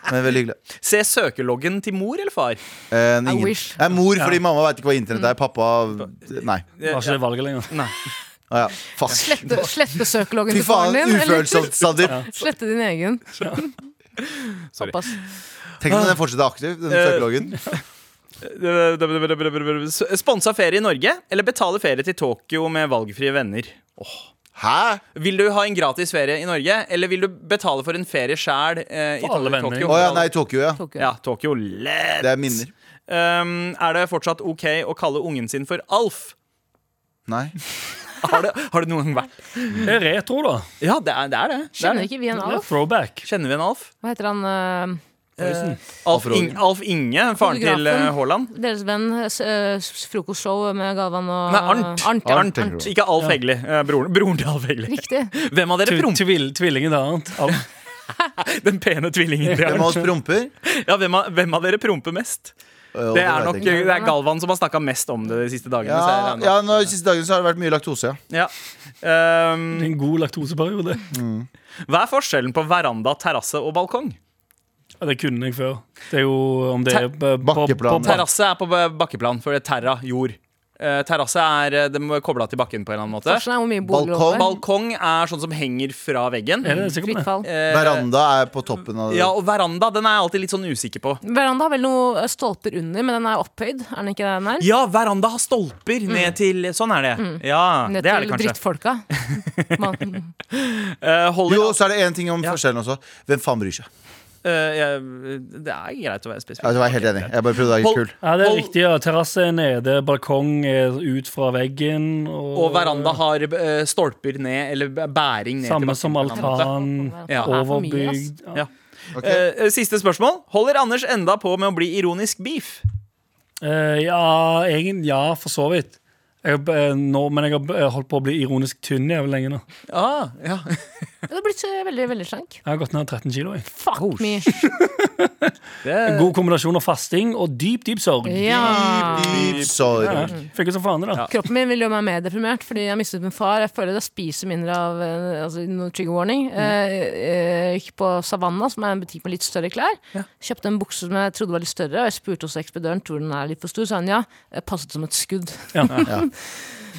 D: Men veldig hyggelig.
B: Se søkeloggen til mor eller far?
D: Eh, ingen.
E: wish.
D: Jeg er mor fordi mamma veit ikke hva internett er. Pappa Nei.
C: Har ikke det valget lenger.
D: Ah, ja. Fuck.
E: Slette, slette søkeloggen
D: Fy
E: til
D: faen,
E: faren din. eller
D: ufølsomt, Sadir.
E: [LAUGHS] Slette din
B: [LAUGHS]
E: egen.
B: Sorry.
E: Såpass.
D: Tenk om den fortsetter aktiv, den søkelogen.
B: S- Sponsa ferie i Norge eller betale ferie til Tokyo med valgfrie venner?
D: Hæ?
B: Vil du ha en gratis ferie i Norge, eller vil du betale for en ferie sjæl? Eh, i
C: For alle
B: To-
C: venner.
B: Tokyo?
D: Å ja, nei, Tokyo, ja.
E: Tokyo.
B: Ja, Tokyo lett.
D: Det er minner.
B: Um, er det fortsatt OK å kalle ungen sin for Alf?
D: Nei.
B: Har det, har det noen gang vært
C: Det er retro, da.
B: Ja, det er det. Er det. det, er
E: Kjenner
B: det.
E: ikke vi en
C: Det er
E: Alf?
C: throwback.
B: Kjenner vi en Alf?
E: Hva heter han eh,
C: sånn.
B: Alf,
D: Alf Roger.
B: Ing- Alf Inge, faren til eh,
E: Fotografen.
B: Haaland?
E: deres venn? s- eh, s- frokostshow med Galvan og
B: Nei, Arnt.
E: Arnt, ja.
D: Arnt, tenker du.
B: Ikke Alf Hegli. eh, Broren, broren til Alf Hegli.
E: Riktig.
B: Hvem av dere
C: Tv-
B: promper
C: Tvil, tvillingen til annet. Alt.
B: den pene tvillingen? de
D: Hvem
B: har?
D: av oss promper?
B: Ja, hvem, av, hvem av dere promper mest?
D: Øh,
B: Det er
D: vet jeg
B: nok
D: ikke.
B: det er Galvan som har snakka mest om det de siste dagene.
D: ja,
B: så jeg regner
D: ja,
B: med.
D: nå, De siste dagene så har det vært mye laktose.
B: Ja.
D: Ja.
B: Ehm,
C: En god laktoseperiode.
B: hva er forskjellen på veranda, terrasse og balkong?
C: Ja, det kunne jeg før. Det er jo om det
B: Ter-
C: er på- på-
D: Bakkeplan.
C: på-
B: Terrasse er på ba- bakkeplan, for det er terra, jord. Eh, terrasse er kobla til bakken på en eller annen måte.
E: Forskjellen er hvor mye boliger det er.
B: Balkong er sånn som henger fra veggen.
C: Er det sikkert
E: Fritt
C: det?
E: fall.
B: Eh,
D: Veranda er på toppen av det.
B: Ja, og veranda den er jeg alltid litt sånn usikker på.
E: Veranda har vel noen eh, stolper under, men den er opphøyd. Er den ikke det den er?
B: Ja, veranda har stolper ned til Sånn er det. Ja,
E: Ned
B: det er det
E: til
B: kanskje. [LAUGHS]
E: drittfolka. Man,
B: Eh, Holly-
D: Jo, så er det én ting om
B: Ja.
D: forskjellen også. Hvem faen bryr seg?
B: Eh, jeg- det er greit å være
D: Ja,
B: spesifikk.
D: det var jeg helt enig. Jeg bare prøvde å være
B: Hold-
D: kul.
C: Ja, det er
B: Hold-
C: riktig. ja. Terrasse er nede, balkong er ut fra veggen. Og,
B: Og veranda har eh, stolper ned, eller b- bæring ned
C: Samme
B: bakken
C: som
B: på en eller annen måte.
C: altan.
B: Ja.
C: Overbygd. Ja.
D: Ok.
B: Eh, eh, siste spørsmål. Holder Anders enda på med å bli ironisk beef?
C: Eh, ja, egen, ja, for så vidt. Jeg, har, eh, nå, men jeg har eh, holdt på å bli ironisk tynn jævlig lenge nå.
B: Ah, ja.
E: Det har blitt eh, veldig, veldig slank.
C: Jeg har gått ned 13 kilo. Jeg.
E: Fuck me.
B: Det,
C: God kombinasjon av fasting og dyp, dyp sorg.
E: Eh. Ja.
D: Dyp sorg.
C: Ja, Funker som faen, det, da.
E: Kroppen min vil gjøre meg mer deprimert fordi jeg har mistet min far. Jeg føler jeg spiser mindre av eh, altså, no trigger warning. Eh, eh, jeg gikk på Savanna, som er en butikk med litt større klær. Kjøpte en bukse som jeg trodde var litt større, og jeg spurte hos ekspedøren tror den er litt for stor. Så han ja, eh, passet som et skudd.
C: Ja.
D: Ja.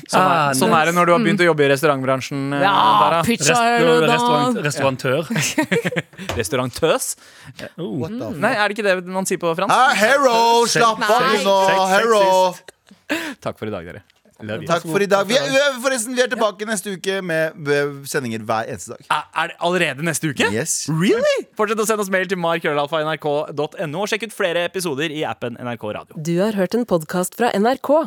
B: Sånn er, sånn er det når du har begynt å jobbe i restaurantbransjen. eh,
E: Ja,
B: Dara.
E: pizza eller
C: Rest, restaurant,
E: Ah, da
C: restaurantør.
B: Restaurantøs?
C: Oh.
B: Nei, er det ikke det man sier på fransk?
D: Ah, hero, slapp av
E: Nei.
D: nå,
C: Sex-
D: hero!
B: Takk for i dag, dere. Love you.
D: Takk for i dag. Vi er, vi er- forresten, vi er tilbake neste uke med eh, sendinger hver eneste dag.
B: Er er det allerede neste uke?
D: Yes.
B: Really? Fortsett å sende oss mail til markrøllalfa.nrk.no, og sjekk ut flere episoder i appen NRK Radio.
F: Du har hørt en podkast fra NRK.